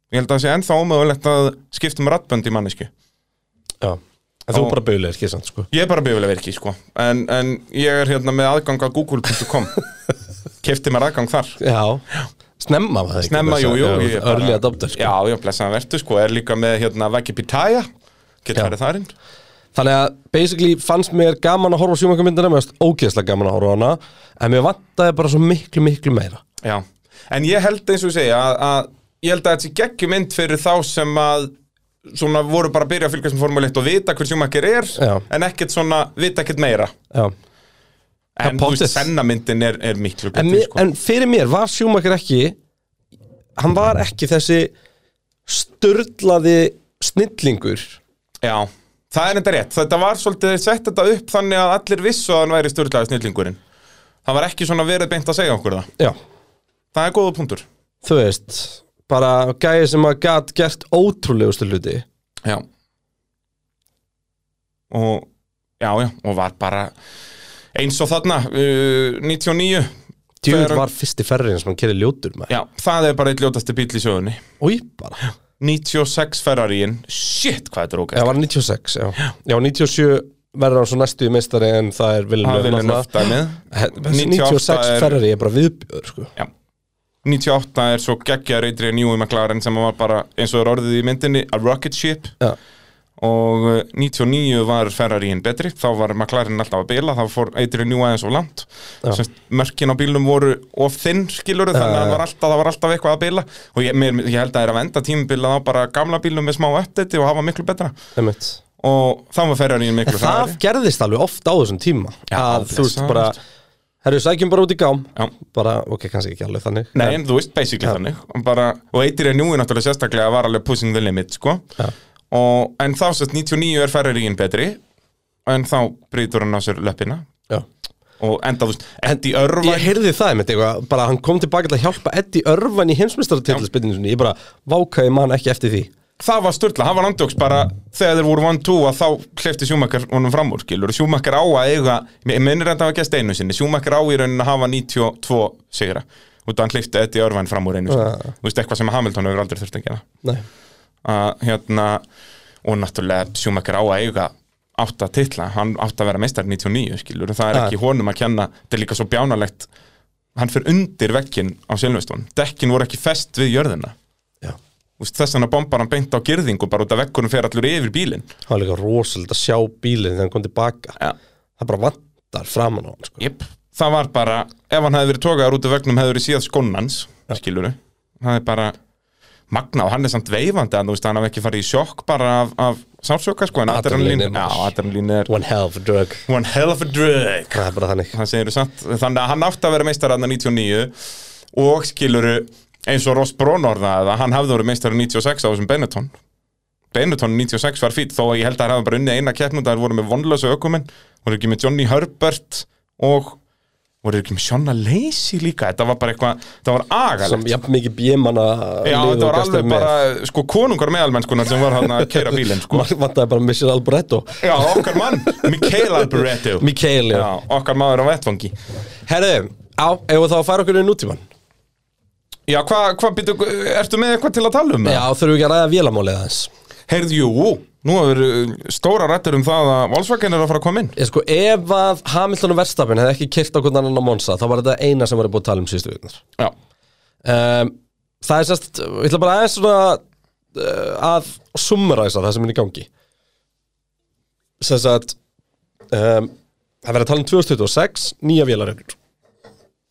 S2: ég held að það sé ennþá ómögulegt að skipta um rattbönd í mannesku
S1: Já, en þú
S2: Og-
S1: bara bauðlega ekki samt sko
S2: Ég er bara bifilega verki, sko en, en ég er hérna með aðgang að google.com Kefti mér aðgang þar
S1: Já, snemma var það ekki
S2: Snemma, jú, jú ég er bara-
S1: Örli adopter sko
S2: Já, já, blessaðan vertu, sko, er líka með hérna Veggi Pitaya, getur
S1: Já.
S2: verið þarinn
S1: Þannig að basically fannst mér gaman að horfa á sjómakamindina Mér fannst ógeðslega gaman að horfa á hana En mér vantaði bara svo miklu, miklu meira
S2: Já, en ég held eins og segja að, að ég held að þetta sé geggjum mynd fyrir þá sem að svona voru bara að byrja að fylgja sem formule 1 og vita hver sjúmakir er
S1: Já.
S2: en ekkert svona, vita ekkert meira
S1: Já
S2: en
S1: Já,
S2: þú veist,
S1: pottþétt.
S2: sennamyndin er, er miklu
S1: en,
S2: betur,
S1: mér,
S2: sko
S1: en fyrir mér var Schumacher ekki hann var ekki þessi störlaði snillingur
S2: Já, það er enda rétt, þetta var svolítið þeir sett þetta upp þannig að allir vissu að hann væri styrlaði snillingurinn það var ekki svona verið beint að segja okkur það
S1: já,
S2: það er góða punktur
S1: þú veist bara gæði sem að gat gert ótrúlegustu hluti
S2: Já Og Já, já, og var bara eins og þarna, uh, 99
S1: djúr
S2: Þegar-
S1: var fyrsti ferrin sem hann kerði ljótur með
S2: Já, það er bara eitt ljótasti bíl í sögunni
S1: Új, bara,
S2: 96 Ferrariin Shit, hvað þetta er okkar
S1: það var 96 já, já 97 verður hann svo næstu í meistari en það er
S2: Það
S1: Villeneuve
S2: vilja
S1: náttúrulega.
S2: nöftamið
S1: Þessi 96 er... ferri er bara viðbjör sko.
S2: Já 98 er svo geggja reyndri en Júi McLaren sem var bara, eins og er orðið í myndinni a rocket ship
S1: já,
S2: og eh, 99 var Ferrariin betri þá var McLaren alltaf að bila þá fór Adrian New aðeins og langt
S1: Já.
S2: Sest, mörkin á bílum voru of þinn skilur
S1: já,
S2: þannig að það
S1: já.
S2: var alltaf, það var alltaf eitthvað að bila og ég, mér, ég held að það er að venda tímubila á bara gamla bílum með smá update og hafa miklu betra
S1: einmitt
S2: og þá var Ferrariin miklu
S1: það
S2: hraðari.
S1: gerðist alveg oft á þessum tíma
S2: Já,
S1: að þú veist
S2: blessaður.
S1: bara herru sækjum bara út í gám
S2: Já.
S1: bara, ok, kannski ekki alveg þannig
S2: Nei, en þú veist, basically þannig og, bara, og Adrian Newey náttúrulega sérstaklega var alveg pushing the limit, sko
S1: Já.
S2: og, en þá sérst 99 er Ferrariin betri en þá brýtur hann á sér löppina
S1: Já.
S2: og enda, þú veist, Eddie Irvine
S1: ég heyrði það einmitt eitthvað, bara hann kom tilbaka til að hjálpa Eddie Irvan í heimsmyndstaratillisbyrðinu sinni, ég bara vákaði mann ekki eftir því
S2: það var störtla, það var andjóks bara þegar þeir voru 1-2 að þá hleyfti Sjúmakar honum fram úr, skilur, Sjúmakar á að eiga, ég minnir þetta að gæst einu sinni Sjúmakar á í raunin að hafa 92 sigra, út af hann hleyfti Eddie Irvine fram úr einu sinni,
S1: Ja.
S2: þú veist, eitthvað sem Hamilton hefur aldrei þurft að gera
S1: Nei.
S2: að hérna, og náttúrulega Sjúmakar á að eiga átt að titla, hann átt að vera meistar 99, skilur, það er
S1: Ja.
S2: ekki honum að kenna þetta er líka svo bjánalegt hann fyrir undir vekkin á Silveston dekkin voru ekki fest við jörðina
S1: Já.
S2: Úst, þess vegna bombar hann beint á girðingu bara út af vekkunum fer allur yfir bílinn
S1: það var líka rosalega að sjá bílinn þegar hann kom tilbaka
S2: ja.
S1: það bara vantar framan á hann sko.
S2: yep. það var bara, ef hann hefði verið tókaður út af vekkunum hefði verið síðan skonnans ja. skiluru, það er bara magna og hann er samt veifandi að þú veist hann hafði ekki farið í sjokk bara af, af sársöka sko, en
S1: Adrenalín
S2: adrenalín
S1: er-
S2: já, adrenalín er
S1: one hell of a drug
S2: one hell of a drug
S1: það er bara þannig
S2: það segir samt, þannig að hann átti að vera meistararna 99 og skiluru eins og Ross Brón orðaði að hann hafði verið meistar 96 á þessum Benetton Benetton 96 var fýtt þó að ég held að hann hafði bara unnið eina keppnum það voru með vonlösa ökumenn voru ekki með Johnny Herbert og voru ekki með Shonna Lacey líka þetta var bara eitthvað, þetta var agalegt
S1: sem jafn mikið bjemanna
S2: Já, þetta var alveg bara, sko, konungar meðalmennskunar sem var hann að keira bílinn, sko
S1: vantaði bara Michel Alboreto
S2: Já, okkar mann, Mikael Alboreto
S1: Mikael, já.
S2: Já, okkar maður á vettvangi
S1: herðu, á, ef þá að færa okkur í nútíman
S2: Já, hvað, hva, býtu, ertu með eitthvað til að tala um?
S1: Já, þurfum við ekki að ræða vélamálið aðeins
S2: heyrðu, jú, nú er stóra rættur um það að Volkswagen er að fara að koma inn
S1: Ég sko, ef að Hamilton og Verstafin hefði ekki kyrt okkur annan á Monsa, þá var þetta eina sem var búið að tala um síðustu viknar.
S2: Já,
S1: Um, það er sérst, ég ætla bara aðeins svona uh, að summaræsa það sem er í gangi. Sérst að, um, það verður að tala um 2026, nýja vélarreglur.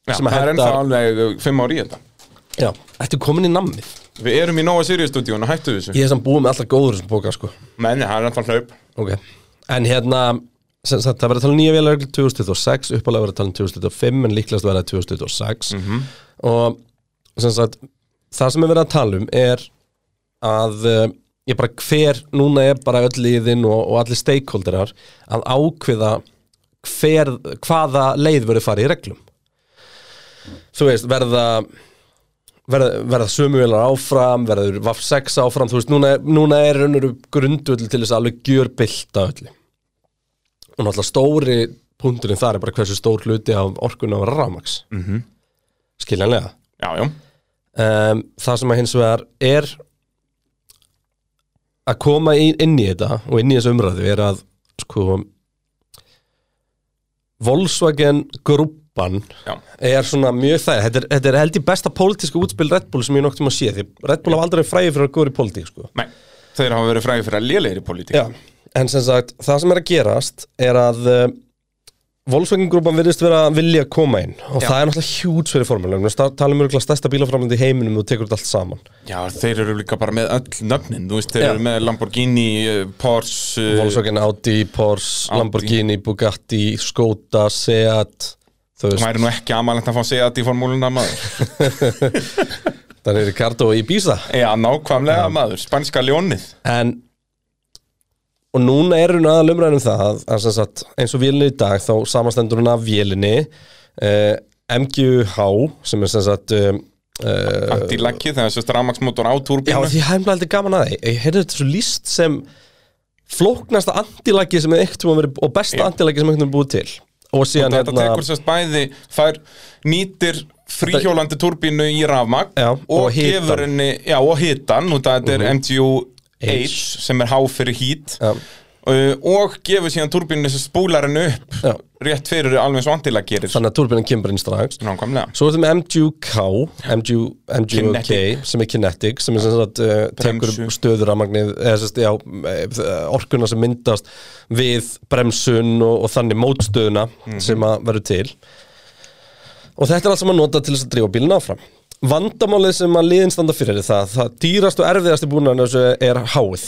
S2: Já
S1: Sem að
S2: það er
S1: henda-
S2: ennþá alveg uh, fimm ári í þetta
S1: Já, þetta er komin í nammið.
S2: Við erum í Nóa Sirius stúdíun og hættu þessu
S1: Ég er samt búið með alltaf góður sem bóka, sko.
S2: Menni, það er ennþá hlaup
S1: Ok, en hérna sem sagt, það verður að tala um nýja vélarreglu 2026 uppalega verður að tala um 2025 en líklegast verður að 2026 og sem sagt, það sem er verið að tala um er að eh, ég bara hver, núna er bara öll liðin og, og allir stakeholderar að ákveða hver, hvaða leið verður farið í reglum þú veist, verða verða, verða sömuvelar áfram verður Vaf 6 áfram þú veist, núna, er- núna er raunur grundull til þess að alveg gjör bylta öllu og náttúrulega stóri punkturinn þar er bara hversu stór hluti af orkunna á rafmaks mm -hmm. skiljanlega
S2: Já, já,
S1: um, það sem að hins vegar er að koma í, inn í þetta og inn í þessu umræðu er að sko Volkswagen grúppan
S2: já,
S1: er svona mjög það þetta er, þetta er held í besta pólitíska útspil Red Bull sem ég nokt um að sé því Red Bull hafa aldrei fræði fyrir að góður í pólitík sko.
S2: nei Þeir hafa verið fræði fyrir að lélegir í pólitík
S1: Já, en sem sagt það sem er að gerast er að uh, Volkswagen grúpan virðist vera að vilja koma inn og
S2: Já.
S1: það er náttúrulega hjúts fyrir formulegum við talum mjög stærsta bílaframlandi í heiminum og þú tekur þetta allt saman
S2: Já, þeir eru líka bara með öll nöfnin Þú veist, þeir
S1: Já.
S2: eru með Lamborghini, eh, Porsche eh,
S1: Volkswagen, Audi, Porsche,
S2: Audi.
S1: Lamborghini, Bugatti Skoda, Seat þú
S2: Það
S1: veist,
S2: væri nú ekki amalent að fá að segja þetta í formúluna maður
S1: það er Ricardo í Bísa
S2: Já, nákvæmlega maður, spænska ljónið
S1: En Og núna er hún aðal umræðin um það að, að sem sagt, eins og vélinni í dag þá samanstendur hún af vélinni eh, MGH sem er sem sagt um, eh,
S2: Antilakki, þegar þessu stramaksmótor á
S1: Já
S2: túrbínu
S1: því hæmla heldur gaman að því Ég heyrði þetta svo líst sem flóknasta antilagi sem er eitt verið, og besta
S2: Já.
S1: antilagi sem einhvern veginn búið til og síðan hérna-
S2: Þetta tekur sérst bæði, þær nýtir fríhjólandi turbínu í rafmagn
S1: Já,
S2: og,
S1: og hitann. Mhm.
S2: gefur henni, já og hitan og þetta er MTU-H
S1: H.
S2: sem er H fyrir hít
S1: Já.
S2: uh, og gefur síðan turbínu sem spúlar henni upp
S1: Já.
S2: rétt fyrir alveg svo andila gerir
S1: þannig að turbinan kemur inn strax
S2: Nákvæmlega,
S1: Svo er þetta með MGK, MG, MGK
S2: Kinetic.
S1: sem er kinetic, sem er sem sagt uh, tekur
S2: Bremsu.
S1: stöður að magnið, eða sem sagt, já, eh, orkuna sem myndast við bremsun og, og þannig mótstöðuna
S2: Mhm.
S1: sem að verður til. Og þetta er allt sem að nota til þess að drífa bílinn áfram. Vandamálið sem að liðin standa fyrir er það, það dýrast og erfiðasti búinan þessu er háið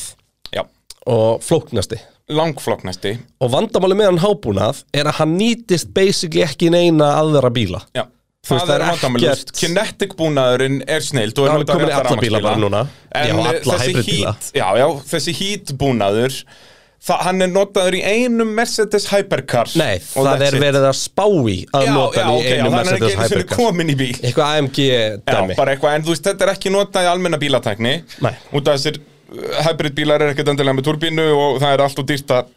S2: já,
S1: og flóknasti.
S2: langfloknasti
S1: Og vandamálið með hann hábúnað er að hann nýtist basically ekki í neina aðra bíla.
S2: Já
S1: Þú veist,
S2: Það
S1: það
S2: er
S1: er
S2: vandamálust,
S1: ekkert-
S2: kinetic búnaðurinn er snild og
S1: Það
S2: er
S1: er
S2: notaður
S1: komin í
S2: rétta
S1: alla bíla
S2: rafmagnsbíla.
S1: bara núna. Já,
S2: En eh,
S1: alla
S2: þessi
S1: hybridbíla.
S2: hít, já, já, þessi hítbúnaður það, Hann er notaður í einum Mercedes Hypercar
S1: Nei,
S2: Og
S1: það
S2: that's
S1: er
S2: it.
S1: verið að spá í að
S2: Já,
S1: nota
S2: já,
S1: hann í
S2: ok, já,
S1: einu
S2: hann er ekki
S1: Mercedes
S2: einu sinni
S1: Hypercar
S2: komin í bíl Já,
S1: Eitthvað AMG dæmi
S2: bara eitthvað, en þú veist, þetta er ekki notað í almenna bílatækni
S1: Nei.
S2: Út af þessir uh, hybridbílar er ekkert endilega með turbínu og það er allt og dýrt að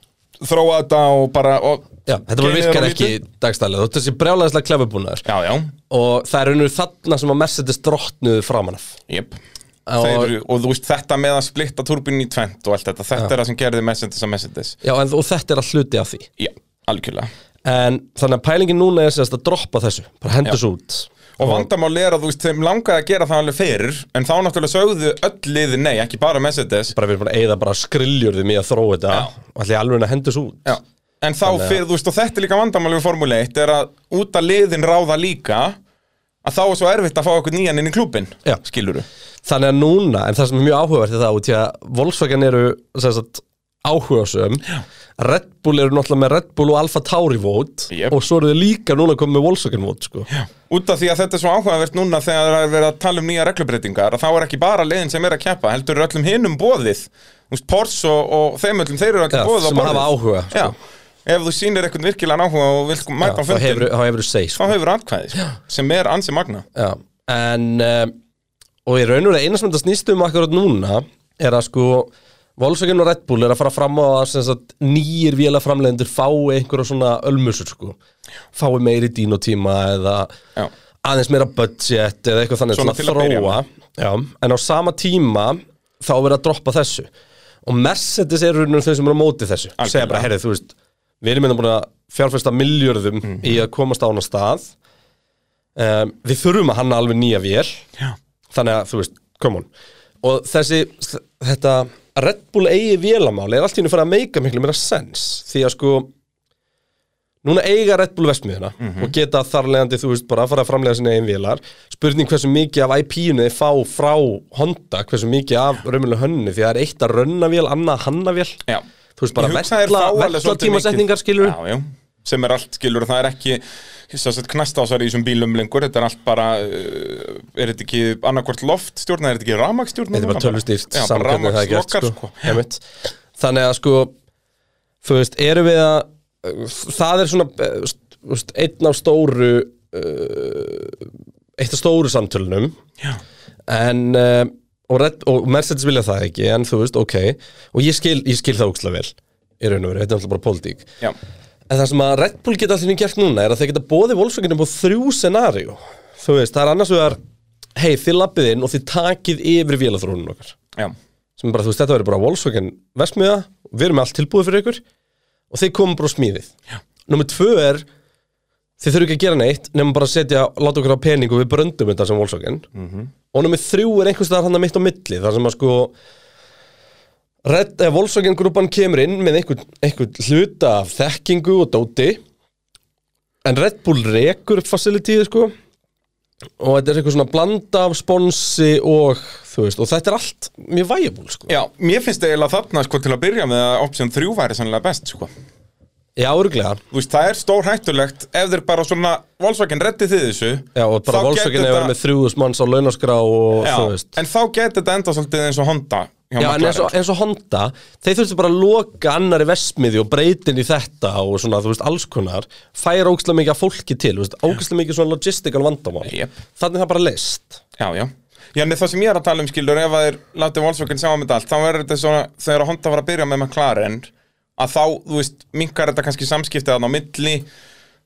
S2: þróa þetta og bara og
S1: Já, þetta bara
S2: Genið er
S1: virkar
S2: of
S1: ekki
S2: lítið.
S1: dagstælega Þetta sé brjálæðislega klefubúnaður
S2: Já, já,
S1: Og það er unnur þarna sem að Mercedes drottnuðu framan af
S2: jep
S1: Og-
S2: Þeir, eru- og þú veist þetta með að splitta turbínu í tvent og allt þetta, þetta er það sem gerði Mercedes að Mercedes
S1: Já, en, og þetta er að hluti af því
S2: Já, algjörlega
S1: En þannig að pælingin núna er sérst að droppa þessu Bara hendur svo út
S2: Og vandamál er að þú veist, þeim langaði að gera það alveg fyrir En þá náttúrulega sögðu öll liði nei, ekki bara Mercedes
S1: Bara við erum bara að eyða bara skriljurðum í að þróa þetta Og allir alveg að hendur svo út
S2: Já En þá fyrir, þú veist, og þetta er líka vandamál við Formule 1 Er að út að liðin ráða líka Að þá er svo erfitt að fá okkur nýjan inn í klúbin
S1: Já.
S2: Skilurðu
S1: Þannig að núna, en það sem er mjög áhugavert er það út í að Volkswagen eru sem sagt, áhugasum Red Bull eru náttúrulega með Red Bull og Alfa Tauri vót
S2: Jep.
S1: og svo eru þau líka núna komið með Volkswagen vót sko.
S2: Út af því að þetta er svo áhugavert núna þegar það er verið að tala um nýja reglubreitingar að þá er ekki bara leiðin sem er að keppa heldur er öllum hinum bóðið Þú veist, Porsche og, og þeim öllum þeir eru allir
S1: Já,
S2: bóðið
S1: sem hafa áhuga, sko.
S2: Já, ef þú sýnir eitthvað virkilega áhuga og vilt
S1: Já,
S2: mæta á
S1: þá
S2: fundin
S1: hefur þá hefur þau segið
S2: þá
S1: sko.
S2: hefur atkvæði sko, sem er ansi magna
S1: Já. en um, og ég raunur að eina sem þetta snýst um akkurat núna er að sko Volkswagen og Red Bull er að fara fram á að sem sagt, nýjir vélaframlegendur fái einhverja svona ölmusur sko. fái meiri dínotíma eða
S2: Já.
S1: aðeins meira budget eða eitthvað þannig
S2: Svona
S1: svona,
S2: til að byrja
S1: þróa já, en á sama tíma þá er verið að droppa þessu og Mercedes eru raunum þau sem eru á móti þessu segja bara, heyrðu, þú veist við erum hérna búin að fjárfesta miljörðum í að komast á hana stað um, við þurfum að hanna alveg nýja vél
S2: Já.
S1: þannig að, þú veist, come on og þessi, þetta Red Bull eigi vélamáli er allt í henni fyrir að meika miklu meira sens því að sko núna eiga Red Bull vestmiðuna
S2: Mhm.
S1: og geta þarlegandi, þú veist, bara að fara að framlega sinni einn vélar, spurning hversu mikið af IP-inu þeir fá frá Honda hversu mikið af raunmjölu hönnu því að það er eitt að rönna vél, annað að hanna vél
S2: Já.
S1: þú veist, bara
S2: Ég hugsa þeir fá alveg
S1: vekla
S2: svolítið
S1: tímasetningar
S2: mikið-
S1: skilur
S2: Já, já, sem er allt skilur það er ekki sett, knastásar í þessum bílum lengur þetta er allt bara uh, er þetta ekki annarkvort loftstjórn eða er þetta ekki rafmagstjórn
S1: Þetta er bara tölvustýrt
S2: Já, bara
S1: samkvæmni það er gert
S2: rafmagslokkar
S1: sko.
S2: sko.
S1: Einmitt. Þannig að sko Þú veist, erum við að Það er svona eh, st- þú veist, Einn af stóru eh, Eitt af stóru samtölunum
S2: Já.
S1: En eh, og, Red, og Mercedes vilja það ekki En þú veist, ok Og ég skil, ég skil það úkslega vel Í raun og veru, þetta er alltaf bara pólitík
S2: Já.
S1: En það sem að Red Bull geta allir gert núna er að þeir geta bóðið Volkswagenum á þrjú scenaríu Þú veist, það er annars vegar Hei, þið lappið inn og þið takið yfir vélaþrónun okkar
S2: Já.
S1: sem er bara, þú veist, þetta verður bara Volkswagen Vestmiða, við erum með allt tilbúið fyrir ykkur og þeir komum bara á smíðið
S2: Já.
S1: Númer tvö er þið þurfum ekki að gera neitt, nefnum bara að setja láta okkur á pening og við bröndum þetta sem Volkswagen
S2: Mhm.
S1: -hmm. og númer þrjú er einhvers staðar hann að mitt á milli, þar sem að sko Red, eh, Volkswagen grúpan kemur inn með einhvern, einhvern hluta af þekkingu og dóti en Red Bull rekur upp facilityið sko og þetta er eitthvað svona blanda af sponsi og þú veist, og þetta er allt mjög vægjabúl sko
S2: Já, mér finnst eiginlega þarna sko til að byrja með að option 3 væri sannlega best sko.
S1: Já, örglega
S2: Þú veist, það er stór hættulegt ef þeir bara svona, Volkswagen reddi þið þessu
S1: Já, og bara
S2: þá
S1: Volkswagen
S2: gæti
S1: hefur
S2: þetta-
S1: verið með þrjúðus manns á launaskrá og
S2: Já,
S1: þú veist
S2: en þá getur þetta enda svolítið eins og Honda hjá
S1: Já, en
S2: McLaren.
S1: eins og, eins og Honda, þeir þurftu bara að loka annari vestmiði og breytin í þetta og svona, þú veist, alls konar færa ógæslega mikið af fólki til, þú veist, ógæslega mikið svona logistical vandamál
S2: Jep.
S1: Þannig er það bara leist
S2: Já, já Já, en það sem ég er að tala um skilur ef að þeir látið Volkswagen sjá um þetta allt þá er þetta svona, þegar Honda var að byrja með McLaren að þá, þú veist, minkar þetta kannski samskiptið þarna á milli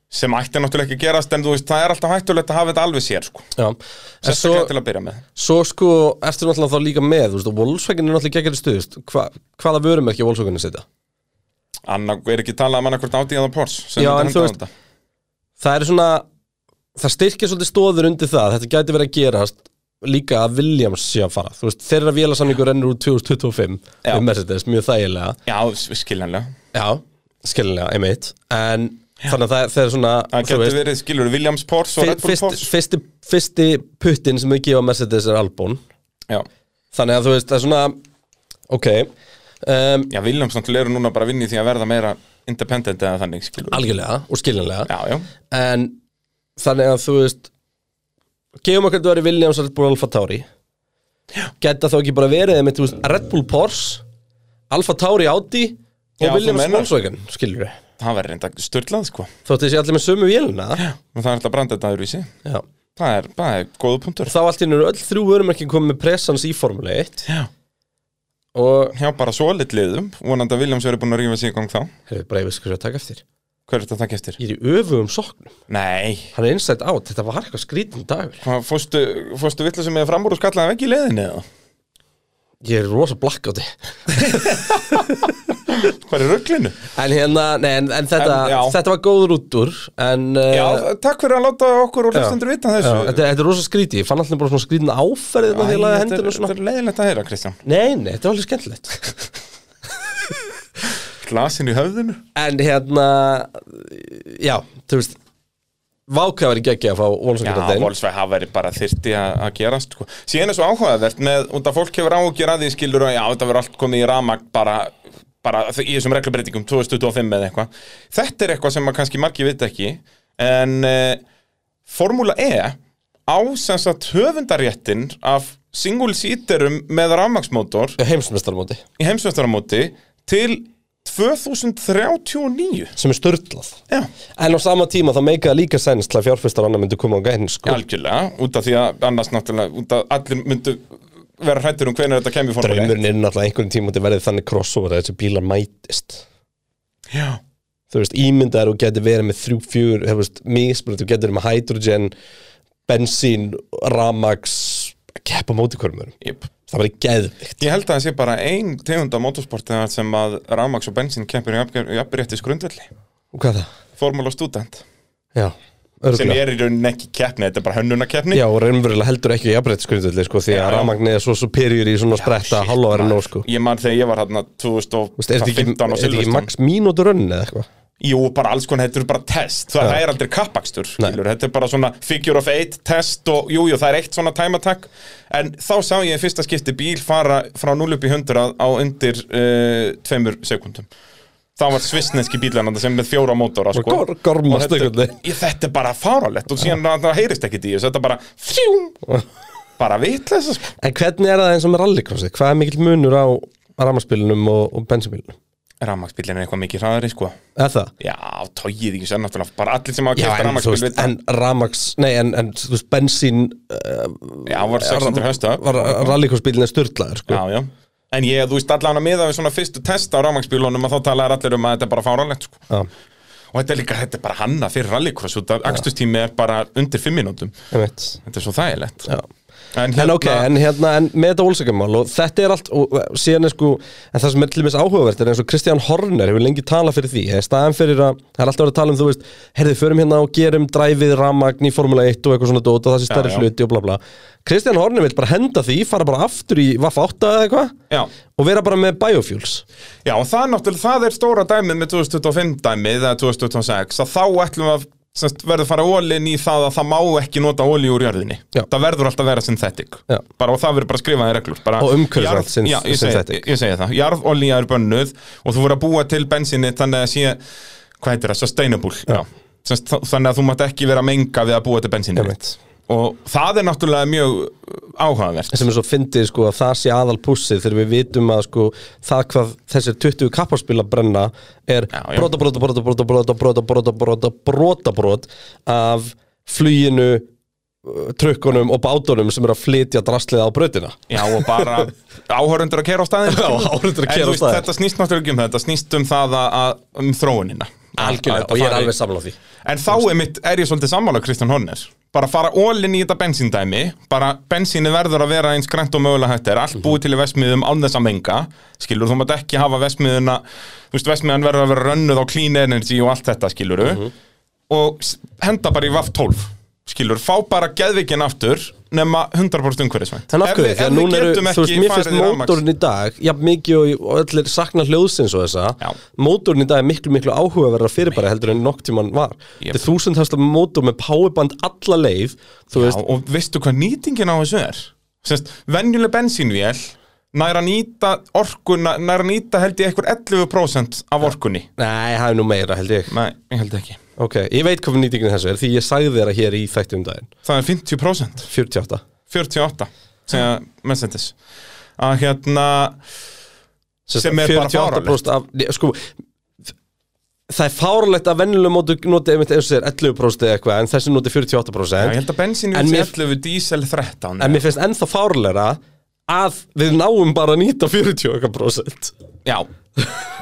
S2: sem ætti náttúrulega ekki að gerast en þú veist, það er alltaf hættulegt að hafa þetta alveg sér sko.
S1: Já, en svo,
S2: sérstaklega til að byrja með
S1: svo sko, ertu náttúrulega þá líka með, þú veist, og Volkswagen er náttúrulega gekkjari stuðist Hva, Hvaða vörumerki á Volkswagen að setja?
S2: Anna, er ekki talað um annarkvort átíð eða Porsche sem
S1: Já,
S2: myndi
S1: en þú
S2: henda á
S1: veist-
S2: þetta.
S1: það er svona það styrkir svolítið stóður undir það þetta gæti verið að gerast líka að Williams sé að fara, þú veist, þeirra vélasamningur rennur úr 2025
S2: Já.
S1: með Mercedes, mjög þægilega
S2: Já, s- skiljanlega
S1: já, skiljanlega, einmitt en þannig að það, það er svona
S2: Það
S1: þú
S2: getur verið, skilur, Williams Porsche og Red Bull
S1: fyrst,
S2: Porsche
S1: fyrsti, fyrsti puttin sem við gefa Mercedes er Albon
S2: Já,
S1: þannig að þú veist, það er svona ok um,
S2: já Williams náttúrulega eru núna bara að vinni því að verða meira independent eða þannig, skilur
S1: algjörlega og skiljanlega
S2: Já, já,
S1: en þannig að þú veist gefum okkur að þú verið Williams og Red Bull Alfa Tauri geta þá ekki bara verið með, veist, Red Bull Porsche Alfa Tauri Audi og
S2: Já, þú
S1: Williams
S2: meinar.
S1: Volkswagen skilur við
S2: það verður reynda störlað, sko
S1: þótt þessi allir með sömu vélina já.
S2: og það er alltaf brandað þetta öðruvísi
S1: og
S2: það er, það er góðu punktur
S1: þá allt í hennu eru öll þrjú vörumerkin komið með presans í Formule 1
S2: já.
S1: og
S2: já, bara svo lit liðum vonandi að Williams verður búin að rífa sig í gang þá
S1: hefur bara yfir skurðið að taka eftir
S2: hver er þetta að taka eftir?
S1: ég er í öfugum soknum,
S2: nei,
S1: hann er innsætt átt þetta var eitthvað skrítum dagur
S2: Hvað, fórstu, fórstu villu sem er framúr og skallaði vegg í leiðinni eða?
S1: ég er rosa blakk á því
S2: hvað er rugglinu?
S1: en hérna, nei, en, en þetta,
S2: En, já.
S1: þetta var góður út úr en
S2: já,
S1: eh,
S2: takk fyrir að láta okkur og hlustendur vita
S1: Já,
S2: þessu
S1: þetta, þetta er rosa skríti, ég fann alltaf bara svona skrítin áferðið
S2: Æ,
S1: þegar ég laði
S2: þetta,
S1: hendina
S2: er,
S1: og
S2: þetta
S1: svona
S2: er leiðilegt að heyra, Kristján
S1: Nei, nei, þetta er alveg skemmtilegt
S2: glasin í höfðinu
S1: En hérna, já, þú veist Váka verið geggi að fá
S2: já,
S1: Volsongjörðin
S2: Volkswagen hafa verið bara þyrti að að gerast sko. síðan er svo áhugavert með út að fólk hefur áhugjur að því skilur að já, þetta verður allt komið í ramag bara, bara þ- í þessum reglubreitingum 2025 eða eitthvað þetta er eitthvað sem að kannski margir vita ekki en uh, Formúla E á sem sagt höfundaréttin af single seaterum með ramagsmótor
S1: Heimsmestarmóti,
S2: í heimsvöstaramóti til 2039
S1: sem er störtlað
S2: já
S1: En á sama tíma þá meikaði líka sens til að fjárfistar annar myndi koma á gæn sko.
S2: Algjörlega, út af því að annars náttúrulega, út af allir myndu vera hrættur um hvernig þetta kemur í formule eitt.
S1: Draumurinn er náttúrulega einhverjum tíma til verið þannig crossover að þessi bílar mætist
S2: Já,
S1: Þú veist, ímyndaður og getur verið með þrjú, fjör, þú veist, mismunandi og getur verið með hydrogen, bensín, ramax, keppa mótikörmur
S2: jöp.
S1: það var geðvikt
S2: Ég held að það sé bara ein tegunda motorsportið sem að rafmaks og bensín kempir í uppréttis grundvelli
S1: og hvað er það?
S2: Formula Student
S1: Já,
S2: sem
S1: örgulega
S2: er í rauninni ekki keppni, þetta er bara hönnunarkeppni
S1: Já, og raunverulega heldur ekki jafnbrettisgrundvöldi sko, því
S2: Já,
S1: að
S2: já.
S1: rafmagnið er svo superior í svona spretta halváðurinn og sko
S2: Ég man þegar ég var hérna
S1: Vist, er þetta ekki, er
S2: 2015 og
S1: þetta ekki
S2: Silveston
S1: max mínútur rönn eða eitthvað?
S2: Jú, bara alls konar, þetta er bara test Það það er aldrei kappakstur,
S1: Nei.
S2: skilur Þetta er bara svona figure of eight test og jú, jú, það er eitt svona time attack En þá sá ég í fyrsta skipti bíl fara frá 0 upp í 100 á undir uh, tveimur sekundum Það var svissneski bílænanda sem með fjóra mótora sko.
S1: Gor- gormast
S2: Og þetta-
S1: einhvern veginn.
S2: Ég- Þetta er bara fáralegt og síðan það heyrist ekki því Þetta er bara fjúm Bara vitleisa sko.
S1: En hvernig er það eins og með rallycrossið? Hvað er mikill munur á rafmagnspilunum og, og bensinpilunum?
S2: Ramaksbílinn er eitthvað mikið hraðari sko.
S1: Er það?
S2: Já, tóið ekki sér náttúrulega Bara allir sem hafa
S1: Já,
S2: kæft
S1: en þú
S2: ramaksbíl
S1: veist, en rafmags, nei, en, en þú veist, bensín uh,
S2: Já, hann var 600 höstu
S1: var rallycrossbílinn er styrlaður, sko.
S2: Já, já. En ég, þú veist, allan að miða við svona fyrstu test á rámaksbílunum að þá talaðar allir um að þetta er bara fáránlegt, sko.
S1: Já,
S2: Og þetta er líka, þetta er bara hanna fyrir rallycross út af akstustími er bara undir 5 mínútum.
S1: einmitt.
S2: Þetta er svo þægilegt.
S1: Já.
S2: En,
S1: En ok, en hérna, en með þetta ólsökumál og þetta er allt, og og síðan er sko, en það sem er til dæmis áhugavert er eins og Kristján Horner hefur lengi talað fyrir því, eða staðan fyrir að, það er alltaf verið að tala um, þú veist, herðið, förum hérna og gerum dræfið ramagn í Formula 1 og eitthvað svona dót og það sé stærri
S2: já.
S1: hluti og bla bla. Kristján Horner vil bara henda því, fara bara aftur í Vaffa 8 eða eitthvað
S2: Já.
S1: og vera bara með biofuels.
S2: já, og það er náttúrulega, það er stóra dæmið með 2025 dæmið eða 2026 að þá ætlum við að semst, verður að fara ólinn í það að það má ekki nota ólí úr jörðinni.
S1: Já.
S2: Það verður alltaf að vera synthetic.
S1: Já.
S2: Bara, og það verður bara skrifaði reglur. Bara,
S1: Og umhverfisvænt
S2: Jarð-
S1: syn-
S2: já, ég segi-
S1: synthetic.
S2: ég segi það, jarðolía er bönnuð og þú voru að búa til bensinni þannig að sé, hvað heitir það, sustainable já. Já. þannig að þú mátt ekki vera að menga við að búa til bensinni
S1: Einmitt.
S2: og það er náttúrulega mjög áhugavert
S1: sem er svo fyndið sko að það sé aðal pússið þegar við vitum að sko það hvað þessir 20 kapparspila brenna er
S2: Já, já.
S1: brota brota brota brota brota brota brota brota brota brot af fluginu uh, trukkunum og bátunum sem eru að flytja drastlið á brautina
S2: Já, og bara áhörundur að kera á staðin
S1: Já, áhorfendur að keyra á staðinn.
S2: Þetta snýst náttúrulega ekki um þetta, snýst um það að, að um þróunina Að- að
S1: og ég er
S2: fara í-
S1: alveg samla á því
S2: En þá er, mitt, er ég svolítið sammála Kristján Horner Bara fara ólinn í þetta bensíndæmi Bara bensíni verður að vera eins grænt og mögulega hægt er
S1: Mhm.
S2: Allt búið til í vesmiðum án þess að menga Skilur, þú mátt ekki hafa vesmiðuna Þú veist, vesmiðan verður að vera rönnuð á clean energy og allt þetta, skilur
S1: Mhm.
S2: Og s- henda bara í vaff 12 Skilur, fá bara geðvikin aftur Nema 100% umhverfisvænt
S1: En af hverju? Því að núna eru, þú veist, mér finnst mótorinn í dag, jafn mikið og, og allir sakna hljóðsins og þessa,
S2: Já.
S1: mótorinn í dag er miklu, miklu áhugaverðar fyrirbæri heldur en nokk tíman var.
S2: Ég-
S1: Þetta er þúsund hesta mótor með powerband alla leið, þú
S2: Já,
S1: veist,
S2: og veistu hvað nýtingin á þessu er? Sérst, venjuleg bensínvél nær að nýta orkuna, nær að nýta held ég eitthvað 11% af orkunni.
S1: nei, það er nú meira held ég.
S2: Nei, ég held ekki.
S1: Ok, ég veit hvað nýtingin þessu er, því ég sagði þér að hér í þætti um daginn,
S2: Það er 50%,
S1: 48.
S2: 48, segja Mercedes. Að hérna,
S1: Sem,
S2: Sem er bara
S1: 48% af, Nei, sko, það er fárlegt að venjulega mótur noti einmitt eins og þér 11% eða eitthvað, en þessi noti 48%.
S2: já, ég held að
S1: En
S2: bensínvél
S1: mér-
S2: sé 11 diesel 13.
S1: En mér finnst ennþá fárleira að við náum bara að nýta 40%
S2: Já.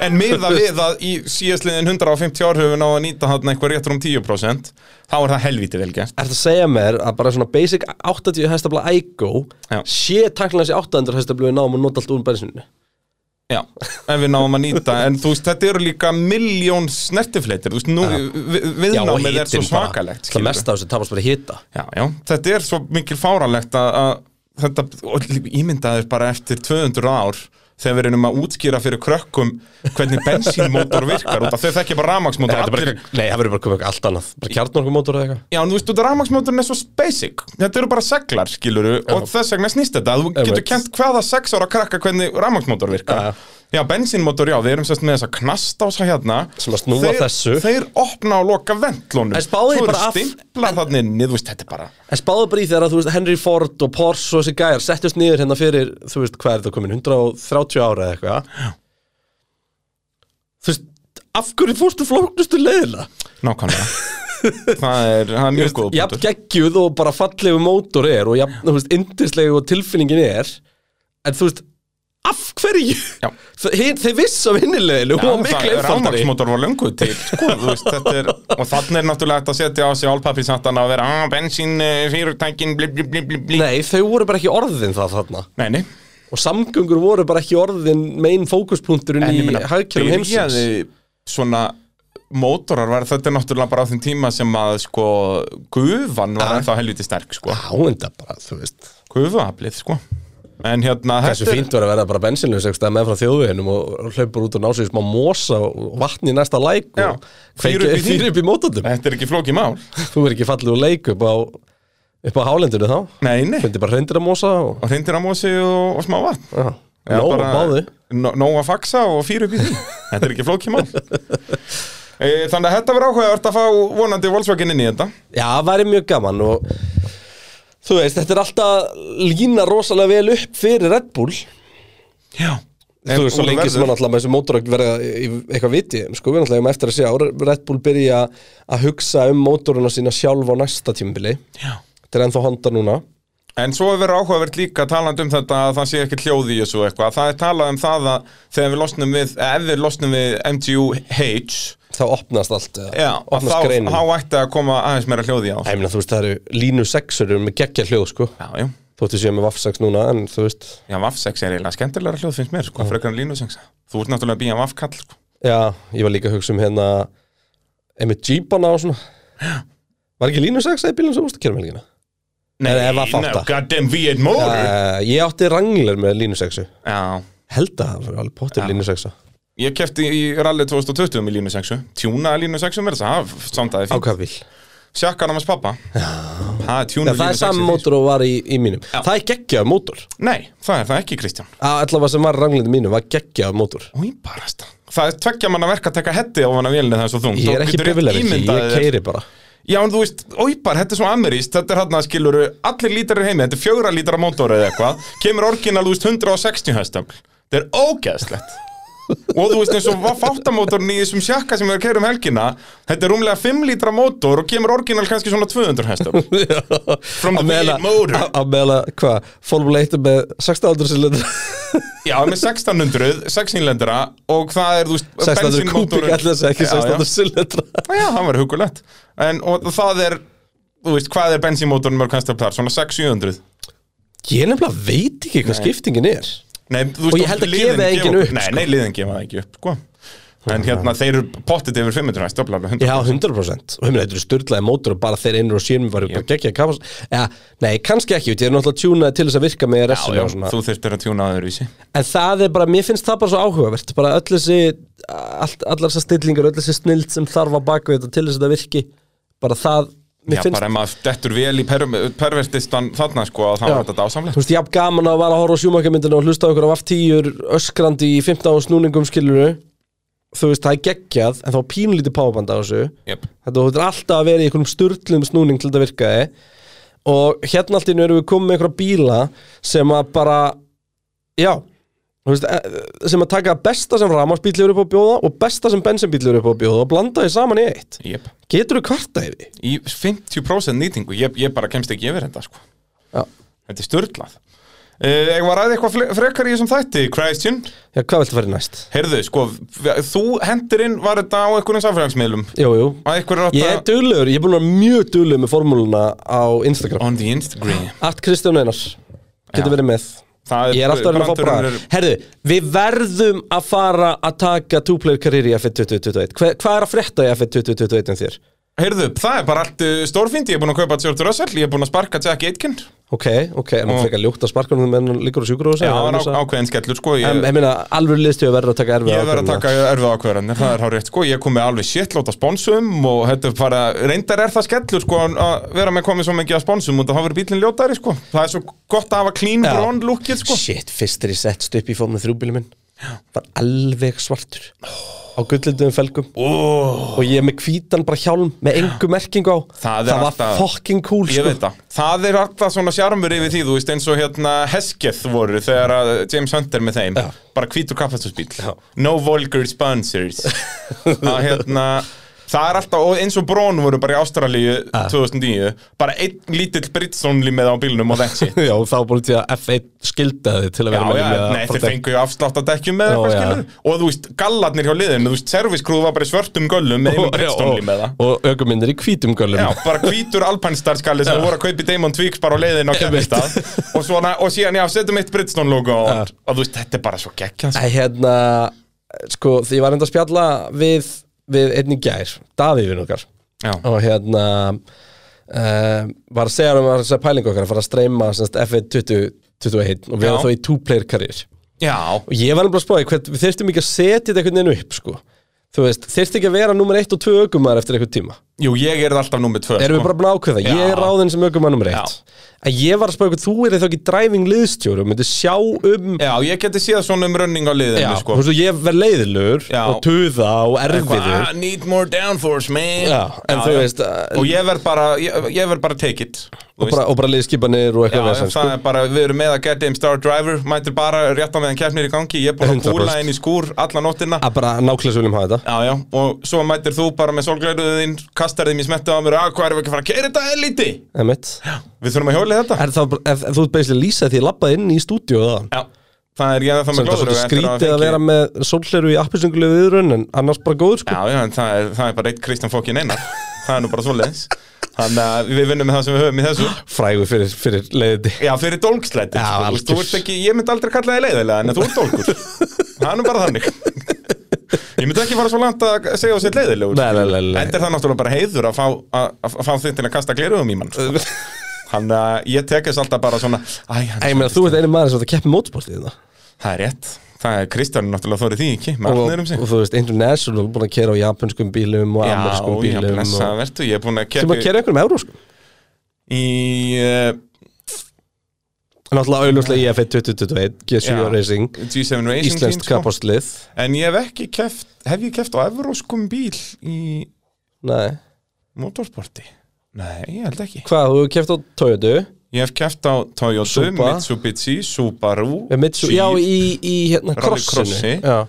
S2: En miða við að í síðastliðin 150 ár höfum við náðu að nýta hann eitthvað réttur um 10% þá er það helvítið vel gert.
S1: Ertu að segja mér að bara svona basic 80 hestabla Igo
S2: Já.
S1: sé takkilega þessi 800 hestabla við náum að nota allt úr bensinu
S2: Já, en við náum að nýta En þú veist, þetta eru líka miljón snertifleitir Þú veist, nú, vi- viðnámið er svo svakalegt
S1: Það
S2: skilurðu.
S1: mesta af þessu tapast bara hýta
S2: Já, já, þetta er svo mikil fáralegt að, að þetta, og ímyndaður bara eftir 200 ár þegar við reynum að útskýra fyrir krökkum hvernig bensínmótor virkar út af þau þekki bara rafmaksmótor allir-
S1: Nei, það verður bara komið eitthvað allt annað Bara kjarnorkumótor eða eitthvað
S2: Já, en þú veist, út af rafmaksmótorinn er svo basic Þetta eru bara seglar, skiluru og þess vegna snýst þetta, þú getur
S1: Einmitt.
S2: kent hvaða sex ára krakka hvernig rafmaksmótor virkar
S1: Já.
S2: Já, bensínmótor, já, við erum sérst með þessa knastása hérna
S1: Sem að snúa
S2: þeir,
S1: þessu.
S2: Þeir opna og loka ventlónum
S1: En spáðu því bara af-
S2: stimplar þarna inni, þú veist, þetta er bara
S1: En spáðu bara í þegar að þú veist Henry Ford og Porsche og þessi gæjar settust niður hérna fyrir þú veist hvað er það komin, 130 ára eða eitthvað Þú veist, af hverju fórstu flóknustu leiðina?
S2: nákvæmlega Það er, það er mjög góð
S1: jafn geggjuð og bara fallegu mótor er og jafn, þú veist, indislegu og tilfinningin er en þú veist, af hverju?
S2: Já.
S1: Þe- hin- Þeir vissu af hinnileginu og miklu einfaldari
S2: Rámaksmótor var löngu til sko, þú veist, þetta er, Og þannig er náttúrulega hægt að setja á sig álpappisatana og eh, vera, ah, bensín, fyrirtækin, blí, blí, blí, blí, blí
S1: Nei, þau voru bara ekki orðin það þarna
S2: Nei, nei
S1: og samgöngur voru bara ekki orðin megin fókuspunkturinn í hagkjörum heimsins
S2: byrjaði svona mótorar var þetta er náttúrulega bara á þeim tíma sem að sko gufan
S1: Ah.
S2: var ennþá helviti sterk sko
S1: Já, en það bara, þú veist
S2: gufuaflið sko en hérna
S1: Þessu fínt var að vera bara bensinlaus ekki stað með frá þjóðveginum og hlaupur út og ná sig í smá mosa og vatni í næsta læk
S2: Já,
S1: og
S2: fýra upp í því.
S1: fyrir upp í mótundum
S2: þetta er ekki flókið mál
S1: Þú verður ekki fallið og leik upp á, upp á hálendinu þá
S2: nei, nei,
S1: Fundi bara hreindir að mosa og
S2: og reyndir á mósi og, og smá vatn
S1: já, já, Nó, bara... báði
S2: nó- Nóg að faxa og fyrir upp í því Þetta er ekki flókið mál E, Þannig að þetta verður áhugavert að fá vonandi Volkswagen inn í þetta
S1: Já, það væri mjög gaman og þú veist, þetta er alltaf lína rosalega vel upp fyrir Red Bull
S2: Já
S1: Þú veist, svo lengi sem hann alltaf með þessu mótorögn verða í eitthvað viti, sko, við náttúrulega um eftir að sjá Red Bull byrja að hugsa um mótoruna sína sjálf á næsta tímabili Þetta er ennþá Honda núna
S2: En svo verður áhugavert líka talandi um þetta að það sé ekki hljóð í þessu og eitthvað Það er talað um það að þegar við losnum við ef við losnum við MTU-H
S1: þá opnast allt, eða
S2: Já, og
S1: opnast
S2: þá,
S1: greinin
S2: þá ætti að koma aðeins meira hljóð í á
S1: Æ, ég meina, þú veist, það eru línu sexurur með geggja hljóð, sko
S2: Já, já
S1: Þóttu séu með Vafsax núna, en þú veist
S2: Já, Vaf6 er eiginlega skemmtilegra hljóð finnst mér, sko, frekar en Linux-6 Þú ert náttúrulega býja Vaf-kall, sko
S1: Já, ég var líka að hugsa um hérna einmitt Jeepana og svona Var ekki línu sex eða bílum sem ústakerum um helgina? Nei, ef Vaf átta.
S2: goddamn V8 motor
S1: Uh, ég átti rangler með línu sexu
S2: Já,
S1: Held að það var alveg pottir línu sexa
S2: Ég kefti í rally 2020 með Línu 6 Tjúnaði Línu 6 mér það Samdaði
S1: Á
S2: fínt
S1: hvað bíl?
S2: Sjakkar hans pappa Það er
S1: Nei,
S2: tjúnaði
S1: það
S2: Línu
S1: er
S2: 6
S1: sami mótor og var í, í mínum Það er geggjaður mótor
S2: Nei, það er það ekki Kristján
S1: Að Allavega sem var ranglindi mínum var geggjaður mótor
S2: Új, barasta Það er tveggja manna verk að taka hetti á hana vélni það er svo þung
S1: Ég er ekki bifilega ekki, ég keiri bara
S2: Já, en þú veist, óipar, þetta er svo ameríst Þetta er hann að skiluru, allir lítarir heimi Þetta er fjögra lítara mótor eða eitthvað Kemur orginal, þú veist, 160 höstöfl Þetta er ógeðslegt Og þú veist eins og fáttamótorn í þessum sjakka sem við keirum um helgina Þetta er rúmlega 5 lítra mótor og kemur orginal kannski svona 200 hestum From the
S1: meðal
S2: big motor.
S1: að- Að meðla, hvað, Formule 1 með 1600 silindur
S2: Já, með 1600, 6 innlendara og það er, þú veist,
S1: 1600 kubík,
S2: bensínmótorinn-
S1: alltaf ekki
S2: Já, já.
S1: 1600 silindur
S2: Já, það var hugulegt En og það er, þú veist, hvað er bensínmótorn mörg hestum þar? Svona 600-700
S1: Ég nefnilega veit ekki hvað skiptingin er
S2: Nei, þú
S1: Og ég held að
S2: liðin
S1: gefi það enginn
S2: gefa-
S1: upp,
S2: Nei,
S1: sko.
S2: nei, liðin gefa það ekki upp, sko En hérna, þeir eru pottit yfir 500 hæst, öfla alveg 100
S1: Já, 100% Og hefum þetta styrlaði mótor og bara þeir einur og sínum var bara geggja kapas ja, Nei, kannski ekki, ég er náttúrulega tjúnað til þess að virka með
S2: Já,
S1: resinu
S2: já,
S1: og svona
S2: þú þurftir að tjúna aður vísi
S1: En það er bara, mér finnst það bara svo áhugavert bara öll þessi, all, allar þessar stillingar öll þessi snild sem þarf að baka við þetta til þess að það virki bara það, mér
S2: Já,
S1: finnst
S2: bara ef maður dettur vel í per, pervertistan þarna, sko, að það
S1: Já.
S2: var þetta dásamlegt
S1: Þú veist, jafn gaman að vara að horfa á sjúmakamyndinu og hlusta á ykkur af aftíur öskrandi í 15 ára snúningum skiluru Þú veist, það er geggjað, en þá er pínlítið páfaband á þessu
S2: Jöp.
S1: Þetta þú þetta alltaf að vera í einhverjum sturlum snúning til þetta virkaði Og hérna allt í nöru við komum með einhverja bíla sem að bara, já þú veist, eh, sem að taka besta sem rafmarsbíl eru upp á að bjóða og besta sem bensinbíl eru upp á að bjóða og blanda því saman í eitt
S2: Jöp.
S1: Getur þú kvarta yfir? því?
S2: Í 50% nýtingu, ég, ég bara kemst ekki yfir þetta, sko
S1: Já.
S2: Þetta er störlað uh, Ég var aðeins eitthvað fle- frekar í þessum þætti, Christian
S1: Já, hvað viltu fara í næst?
S2: Heyrðu, sko, v- þú hendirinn var þetta á einhverjum samfélagsmiðlum
S1: Jú, jú,
S2: Að einhverjum
S1: Ég er duglegur, ég er búin að vera mjög duglegur með formúluna á Instagram
S2: On the Instagram
S1: Art Kristján Einar
S2: Já.
S1: getur verið með
S2: Það
S1: Ég er alltaf að vera að fá
S2: brandurinn
S1: bara
S2: er-
S1: Herðu, við verðum að fara að taka two-player career í F1 2021 Hva, Hvað er að frétta í F1 2021 um þér?
S2: Heyrðu, það er bara allt uh, stórfindi, ég er búin að kaupa George Russell, ég er búin að sparka Jack Aitken
S1: Ok, ok, en maður frekar ljótt að sparka um menn líkur á sjúkur og
S2: Já, það er á, ákveðin skellur, sko Ég,
S1: En ég meina, alveg liðstu að verða að taka sko. erfið
S2: ég verð að taka erfið ákveðranir, það er hár rétt, sko Ég kom með alveg shitlót af sponsum og þetta er bara, reyndar er það skellur, sko en að vera með komið svo mikið af sponsum og það hafa verið bílinn ljótari, sko Það er svo gott að hafa clean
S1: Já.
S2: brown lookið, sko
S1: Shit, fyrst er ég sett upp í fórmið þrjúbíli minn Var alveg svartur Á gullildum felgum
S2: oh,
S1: Og ég er með hvítan bara hjálm Með engu merkingu á
S2: Það er
S1: var
S2: alltaf-
S1: fucking cool
S2: Ég
S1: sko.
S2: veit það, það er alltaf svona sjarmur yfir því, þú veist, eins og hérna Hesketh voru þegar að James Hunt er með þeim
S1: Já.
S2: bara hvítur kappastusbíl
S1: Já.
S2: No vulgar sponsors að hérna Það er alltaf, og eins og Brón voru bara í Ástralíu 2009 Bara einn lítill Britsonli með á bílnum og þessi
S1: Já, og þá búin til að F1 skildaði til að
S2: Já,
S1: vera með
S2: já,
S1: í að
S2: nei, þeir
S1: protect-
S2: fengu ju afslátt að dekkjum með
S1: Já,
S2: eitthvað
S1: já.
S2: skilur Og þú veist, gallarnir hjá liðinu, þú veist, serviskrúð var bara í svörtum göllum með einu
S1: Og-
S2: Britsonli
S1: og-
S2: með það
S1: Og ökuminnir í hvítum göllum
S2: Já, bara hvítur alpænstarskali sem voru að kaupi Damon Tweaks bara á leiðinu á kemistað og, svona, og síðan, já, setjum eitt Bridgestone logo á hann. og þú veist, þetta er bara svo gekkja
S1: Æ, hérna, sko, því ég var enda að spjalla við, við einnig gær, Davíð við okkar
S2: Já.
S1: og hérna uh, var að segja um að segja pælingu okkar að fara að streyma semst, F1 2021 og við
S2: Já.
S1: erum þá í two-player career
S2: Já,
S1: og ég var nefnilega að spáði hvert, við þyrftum ekki að setja þetta einhvern veginn upp, sko þú veist, þyrfti ekki að vera nummer 1 og 2 ökumar eftir einhvern tíma
S2: jú, ég er alltaf nummer tvö
S1: erum
S2: sko.
S1: við bara búin að ákveða, ég er
S2: Já.
S1: ráðinn sem ökumar nummer 1
S2: Já.
S1: en ég var að spáði þú er þá ekki driving liðstjóri og myndi sjá um
S2: Já, ég geti séð svona um running á liðinu,
S1: Já,
S2: sko
S1: þú veist, og ég verð leiðilur
S2: Já.
S1: og tuða og
S2: Eitthvað,
S1: erfiður
S2: "I need more downforce, man
S1: Já, en þú veist, uh,
S2: Og ég verð bara, ég, ég verð bara take it
S1: og bara, og bara liðskipanir og
S2: Já,
S1: eitthvað
S2: það
S1: vesen, sko.
S2: er bara, við erum með að get him star driver Mætir bara rétt á meðan keppnir í gangi Ég er búin að
S1: 100%.
S2: kúla inn í skúr alla nóttina
S1: að bara nákvæmlega viljum hafa þetta
S2: Já, já, og svo mætir þú bara með solglæruðin Kastar þeim í smettu á mér "Ah, Hvað erum við ekki að fara að keira þetta eliti?
S1: Einmitt.
S2: Við þurfum að hjóla þetta
S1: er það, bara- ef, ef þú ert beislega lýsa því að labba inn í stúdíu það
S2: Já, það er ég að það
S1: sem
S2: með
S1: er það
S2: glóður
S1: svolítið skrítið að vera með sólhleru í appisungulegu viðrun en annars bara góður sko
S2: Já, já, en það er, það er bara eitt Kristján Fokkin einar Það er nú bara svoleiðis Þannig að við vinnum með það sem við höfum í þessu
S1: frægur fyrir, fyrir leiðið
S2: Já, fyrir dólkslæti
S1: Já, algjör.
S2: Þú ert ekki, ég myndi aldrei kalla það leiðilega En þú ert dólkur Það er nú bara þannig Ég myndi ekki fara svo langt að segja á sér leiðilegur
S1: Nei, nei, nei, nei.
S2: Enda er það náttúrulega bara heiður að fá, að, að fá þig til að kasta gleruðum í mann Þannig að ég tekist alltaf bara svona Æ, hann,
S1: ég meina þú ert einu maður sem þetta keppi mótsportið þetta
S2: það er rétt Það er Kristján er náttúrulega þórið því ekki Með
S1: og,
S2: allir um sig
S1: og þú veist international búin að kera á japanskum bílum og
S2: Já,
S1: amerskum
S2: já,
S1: bílum og,
S2: blessa, vertu, ég er búin að
S1: sem
S2: keppi
S1: að kera einhverjum euróskum
S2: í uh,
S1: en alltaf auðvitað í F1 2021 G7
S2: Já.
S1: Racing
S2: G7 Racing Team,
S1: Íslenskt
S2: sko.
S1: kapastlið
S2: En ég hef ekki keft, hef ég keft á evróskum bíl í
S1: Nei.
S2: motorsporti? Nei, ég held ekki.
S1: Hvað, þú hefur keft á Toyota
S2: Ég hef keft á Toyota,
S1: Suba.
S2: Mitsubishi, Subaru,
S1: Eh, Mitsu,
S2: Jeep.
S1: Já, í, í hérna
S2: Crossi.
S1: krossinu Já.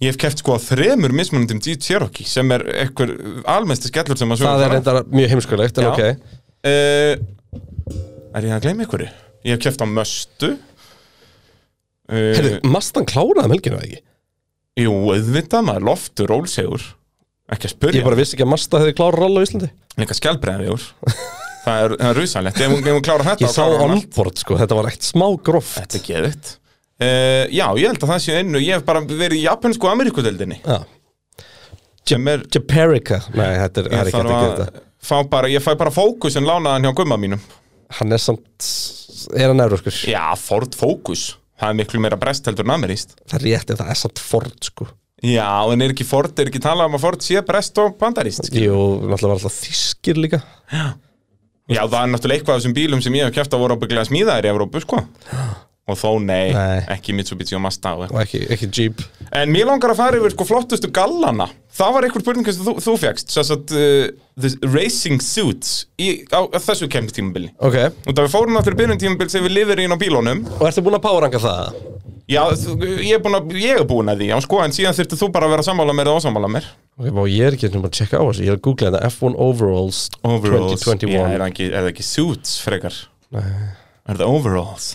S2: Ég hef keft sko á þremur mismunandum Jeep Cherokee sem er einhver almennsti skellur sem að sögum
S1: Það er reyndar mjög heimskulegt en
S2: Já.
S1: ok
S2: Eh, er ég að gleyma einhverju? Ég hef keft á Möstu.
S1: Heyrðu,
S2: Uh,
S1: Mustang kláraði um helginu eða ekki
S2: jú, auðvitað maður loftur rólsegur. Ekki að spyrja.
S1: Ég bara vissi ekki að Mustang hefði klárað rall á Íslandi
S2: Líka skjálbreðaður. það er, það er rusalegt. Ef hún ef hún klárar þetta
S1: Ég
S2: þá
S1: sá
S2: klárar hún allt.
S1: onboard sko, þetta var eitt smá groft
S2: Þetta er geðvitt uh, Já, ég held að það sé einu Ég hef bara verið í japansku Ameríkudeldinni
S1: Já.
S2: sem er,
S1: Japerica Nei, þetta er, það er
S2: ég
S1: ekki
S2: þarf
S1: hægt að gera
S2: að
S1: þetta
S2: fá bara, ég fæ bara fókusin lánaðan hjá gumma mínum
S1: Hann er samt, er hann euróskur
S2: Já, Ford Focus Það er miklu meira brest heldur en ameríst
S1: Það er rétt ef það er samt Ford sko
S2: Já, en er ekki Ford, er ekki talað um að Ford sé brest og bandaríst skilur?
S1: Jú, náttúrulega var alltaf þýskir líka
S2: Já, það er náttúrulega eitthvað af þessum bílum sem ég hef kæft að voru ábygglega smíðaðir í Evrópu, sko Og þó nei,
S1: Nei.
S2: ekki Mitsubishi og Mazda og eitthvað.
S1: og ekki, ekki Jeep
S2: En mér langar að fara yfir sko flottustu gallana Það var einhver spurning sem þú, þú fegst Sess að uh, the racing suits í, á, á þessu kemni tímabili
S1: Ok,
S2: Og það við fórum náttúrulega byrjun tímabil sem við lifir inn á bílunum
S1: og ertu búin að poweranga það?
S2: Já, þú- ég er búin að, ég er búin að því, já sko En síðan þurftir þú bara að vera sammála mér eða ósammála mér
S1: Ok, bá, ég er ekki nefnum að checka á þessu, ég er að googla þetta F1 Overalls,
S2: Overalls, já, er
S1: 2021
S2: það ekki, er það ekki suits frekar?
S1: Nei.
S2: Er það overalls?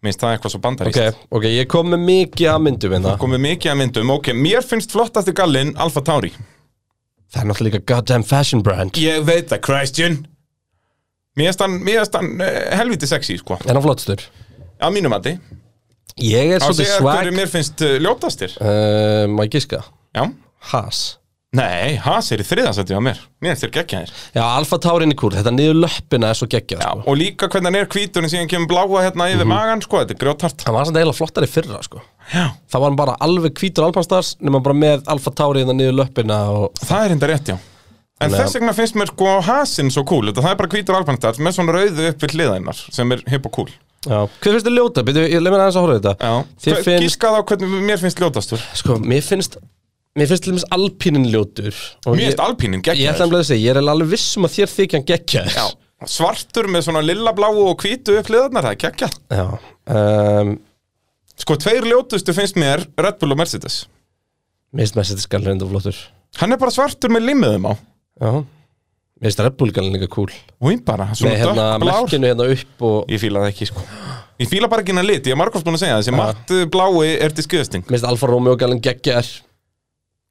S2: Minnst það eitthvað svo bandarist
S1: Ok, ok, ég kom með mikið að myndum hérna. en það
S2: Komið mikið að myndum, ok, mér finnst flottasti gallin Alfa Tauri
S1: Það er náttúrulega líka goddamn fashion brand
S2: Ég veit það, Christian Mér finnst hann, mér finnst hann uh, helviti sexy, sko
S1: En á flottstur
S2: Að mínum mati
S1: Ég er
S2: Á
S1: svolítið
S2: segja
S1: swag
S2: hverju mér finnst uh, ljótastir
S1: Uh, Má ég gíska?
S2: Já
S1: Haas
S2: Nei, Haas er í þriðasætti á mér Mér finnst þér geggjaðir
S1: Já, Alfa Taurin í kúr, þetta niður löppina er svo geggjað
S2: Já,
S1: sko. Mhm.
S2: og líka hvernig hann er hvítur en síðan kemur bláa hérna yfir magan, sko Þetta er grjótart
S1: Hann var samt eiginlega flottari í fyrra sko.
S2: Já
S1: Það var hann bara alveg hvítur alpanstars nema bara með Alfa Tauri hérna niður löppina og...
S2: Það er enda rétt, já En
S1: Þannig að-
S2: þess vegna finnst mér sko Haasin svo cool þetta, Það er bara hvítur alpanstart með svona rauðu upp við hliðainar sem er hipp og cool
S1: Já. Hvað finnst þið ljóta? Byrju, ég leið mér aðeins að horfa á þetta
S2: Já,
S1: Þér
S2: Hva-
S1: finnst-
S2: Giska þá hvernig mér finnst ljótastur
S1: Sko, mér finnst Mér finnst til dæmis alpínin ljótur og
S2: Mér finnst
S1: ég,
S2: alpínin
S1: ég
S2: geggjaðir
S1: ætla nefnilega að segja, ég er eiginlega alveg viss um að þér þykja hann geggjaður
S2: Já, svartur með svona lilla bláu og hvítu upp hliðarnar, það er geggjað
S1: Já. Um,
S2: Sko, tveir ljótustu finnst mér Red Bull og Mercedes
S1: Mér finnst Mercedes gallur enda flottur
S2: Hann er bara svartur með limmiðum á
S1: Já Mér finnst Red Bull galinn líka cool
S2: Úin bara, svona
S1: Með hérna
S2: dökkblár
S1: merkinu hérna upp og
S2: Ég fíla það ekki, sko Ég fíla bara ekki hennar lit, ég er margóft búin að segja það Þessi matt uh, blái er til skuðasting
S1: Mér finnst Alfa Romeo galinn geggjar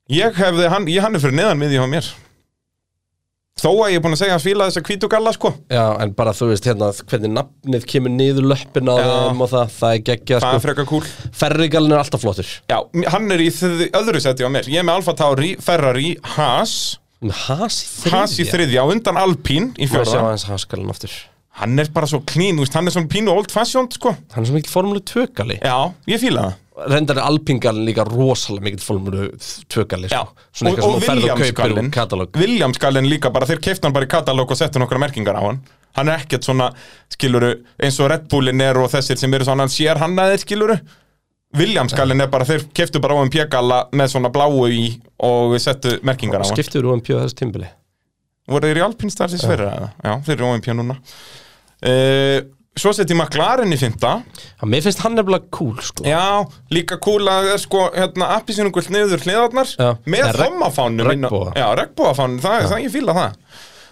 S2: Ég hefði, hann, ég hann er fyrir neðan miðið hjá mér Þó að ég er búin að segja að fíla þessa hvítu galla sko
S1: Já, en bara þú veist hérna hvernig nafnið kemur niður löppin á
S2: Já.
S1: þeim og það, það er geggjar
S2: Það er
S1: sko.
S2: frekar kúl
S1: Ferri galinn er alltaf flottur
S2: Já, hann er í þið, öðru seti á mér Ég er með Alfa Tauri, Ferrari, Haas
S1: Hasi þriðja
S2: Haas í þriðja á undan Alpín í
S1: Má sjá
S2: fjörða
S1: hans Haas galinn aftur
S2: Hann er bara svo clean, þú veist, hann er svona pínu old fashioned sko
S1: Hann er svo mikil formule 2 gali
S2: Já, ég fíla það
S1: Rendar er alpingalinn líka rosalega mikil formule 2 gali
S2: Já,
S1: sko. Svona eitthvað sem þú ferð og kaupir úr katalóg
S2: Williamsgallin líka bara, þeir keiftu hann bara í katalóg og settu nokkra merkingar á hann Hann er ekkert svona, skiluru, eins og Red Bullin er og þessir sem eru svona, hann sér hann aðeins, skiluru Williamsgallin er bara, þeir keiftu bara OMP-galla með svona bláu í og settu merkingar á hann
S1: Skiptur úr UMP á þessu tímbili
S2: Voru þeir í Alpinstar þess fyrir eða? Já, þeir eru OMP núna uh, Svo sett ég McLaren í fynda
S1: Já, Mér finnst hann nefnilega cool sko.
S2: Já, líka cool að það er sko hérna, appisínugult niður hliðarnar
S1: Já.
S2: með
S1: Nei, reg-
S2: hommafánum
S1: regnboga.
S2: Já, regnbóafánum, það, það ég fíla það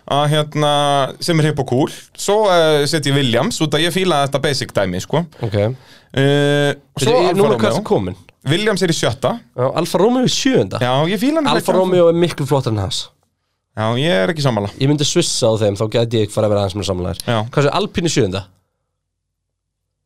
S2: að, hérna, sem er hipp og cool Svo uh, set ég Williams út að ég fíla þetta basic dæmi sko.
S1: Ok
S2: uh, Svo
S1: Þetta er-
S2: Alfa
S1: Núna hvað er
S2: Romeo
S1: komin
S2: Williams er í sjötta
S1: Já, Alfa Romeo er sjönda
S2: Já, ég fíla hann
S1: Alfa Romeo er miklu flottar en hans
S2: Já, ég er ekki sammála
S1: Ég myndi svissa á þeim, þá gæti ég fara að vera aðeins með samlæðar
S2: Já.
S1: Hvað sé, Alpín er sjönda?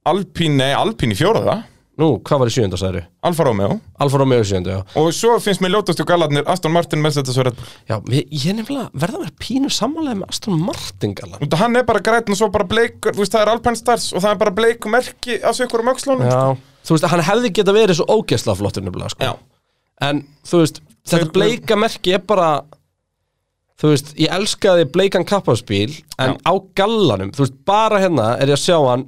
S2: Alpín, nei, Alpín í fjóraða
S1: Nú, hvað var í sjönda, sagður?
S2: Alfa Romeo
S1: Alfa Romeo er sjönda, já
S2: Og svo finnst mér ljótastu gallarnir Aston Martin, Mercedes og Red Bull
S1: Já, ég, ég er nefnilega verða að vera pínu sammálega með Aston Martin galan
S2: Út að Hann er bara grætn og svo bara bleik Þú veist, það er Alpine Stars og það er bara bleik merki á sig ykkur um öxlunum
S1: Já Þú veist, hann hefði geta verið svo ógeðslega flottur nefnilega, sko
S2: Já.
S1: En, þú veist, þetta
S2: Þeir-
S1: bleika merki er bara Þú veist, ég elskaði bleikan kappaðspíl En á gallanum, þú veist, bara hérna er ég að sjá hann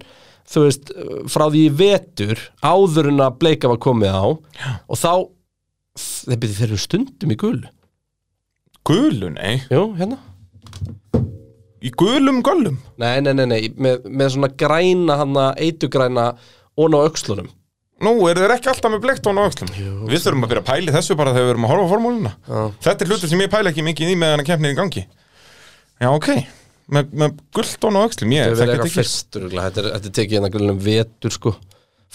S1: Þú veist, frá því í vetur Áður en að bleika var komið á Já. Og þá, þeir byrði þeir eru stundum í gul
S2: Gulu, nei,
S1: Jú, hérna
S2: í gulum göllum
S1: Nei, nei, nei, nei, með, með svona græna hana, eitugræna Ón á öxlunum
S2: Nú, eru þeir ekki alltaf með bleiktón á öxlum Við þurfum að byrja að pæli þessu bara þegar við erum að horfa á formúluna Þetta er hlutur sem ég pæla ekki mikið í meðan að keppnið í gangi Já, ok Með, með gulltón á öxlum, ég
S1: Þau verið
S2: þekki þetta
S1: eitthvað
S2: ekki
S1: fyrst örugglega. þetta er, þetta er tekið hérna grillum vetur sko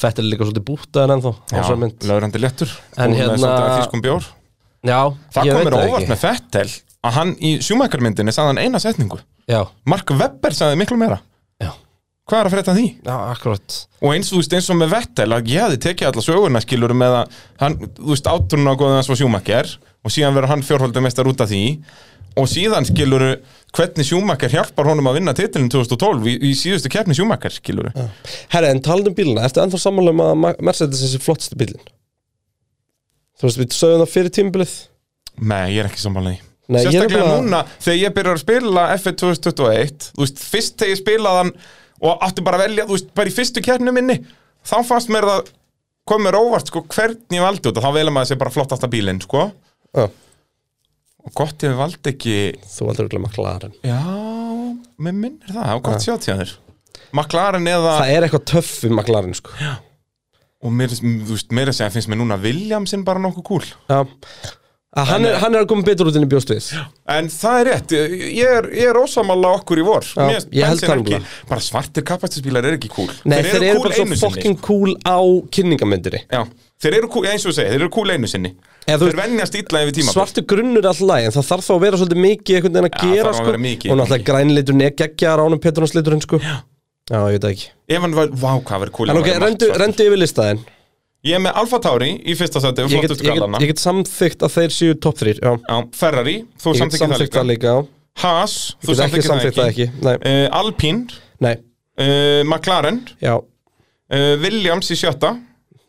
S1: Fett er líka svolítið bútaðan ennþá á þessari mynd.
S2: Já, lögrandi léttur
S1: En
S2: Og með
S1: hérna-
S2: svolítið af þýskum bjór
S1: Já,
S2: Það
S1: ég
S2: kom
S1: veit
S2: mér á óvart
S1: ekki.
S2: með Fettel að hann í sjúmækarmyndinni sagði hann eina setningu
S1: Já,
S2: Mark Webber sagði miklu meira
S1: já,
S2: Hvað er að frétta af því?
S1: já, akkurat
S2: Og eins, þú veist, eins og með Vettel að ég hefði tekið alla söguna skilur með að hann, þú veist, átrunna á góðan svo sjúmakker og síðan verður hann fjórhaldumestar út af því og síðan skilur hvernig sjúmakker hjálpar honum að vinna titilin 2012 í, í síðustu keppni sjúmakker skilur
S1: Herra, en talandi um bíluna, ertu ennþá sammála um að Ma- Mercedes er þessi flottasti bílinn? Þú veist, við sögum það fyrir tímbilið
S2: Nei, ég er ekki sammála því
S1: Nei, ég er
S2: Sérstaklega
S1: nefnilega-
S2: núna, þegar ég byrjar að spila F1 2021, þú veist, fyrst þegar ég spilaði hann og átti bara að velja, þú veist, bara í fyrstu keppni minni þá fannst mér það komur óvart, sko, hvernig ég valdi út og þá velja maður sér bara flottasta bílinn, sko
S1: Já,
S2: og gott ég valdi ekki
S1: þú aldrei vilja McLaren
S2: Já, mér minnir það, það var gott sjátt hjá þér McLaren eða,
S1: Það er eitthvað töff við McLaren sko Já,
S2: og mér, þú veist, mér að segja finnst mér núna Williamsin bara nokkuð kúl
S1: Að hann,
S2: eh,
S1: er, hann er að koma betur út enn í bjóst við
S2: En það er rétt, ég er, ég er ósamála okkur í vor Mér finnst
S1: ég held
S2: Benson
S1: það
S2: ekki,
S1: nefnilega.
S2: Bara svartir kapastisbílar er ekki kúl
S1: Nei, þeir eru
S2: kúl
S1: bara svo
S2: sko.
S1: fucking cool á kynningamyndinni
S2: Já, þeir eru kúl, eins og þú segir, þeir eru kúl einu sinni
S1: Eða þú
S2: Þeir
S1: veist-
S2: venjast illa yfir tíma
S1: svartu grunnur er alltaf læg en það þarf þá að vera svolítið mikið einhvern veginn að
S2: Já,
S1: gera
S2: þarf að
S1: sko.
S2: vera mikið í
S1: og náttúrulega grænleiturinn er geggjaðar ánum Petronsleiturinn sko. já. ég veit það ekki
S2: Ef hann var, vá, hvað verið kúl
S1: en
S2: ef
S1: ok,
S2: hann væri margt
S1: rendu,
S2: svartur.
S1: rendu yfir listaðin
S2: Ég er með Alfa Tauri í fyrsta seti
S1: ég get, ég, get, ég get samþygt að þeir séu top 3 já.
S2: Já, Ferrari, þú
S1: ég get
S2: samþykkið það
S1: samþygt
S2: líka
S1: það líka já.
S2: Haas,
S1: ég
S2: þú
S1: get ekki
S2: samþykkið það
S1: samþygt það
S2: ekki
S1: ekki nei,
S2: Eh, Alpine
S1: nei,
S2: uh, McLaren,
S1: já
S2: uh, Williams í sjötta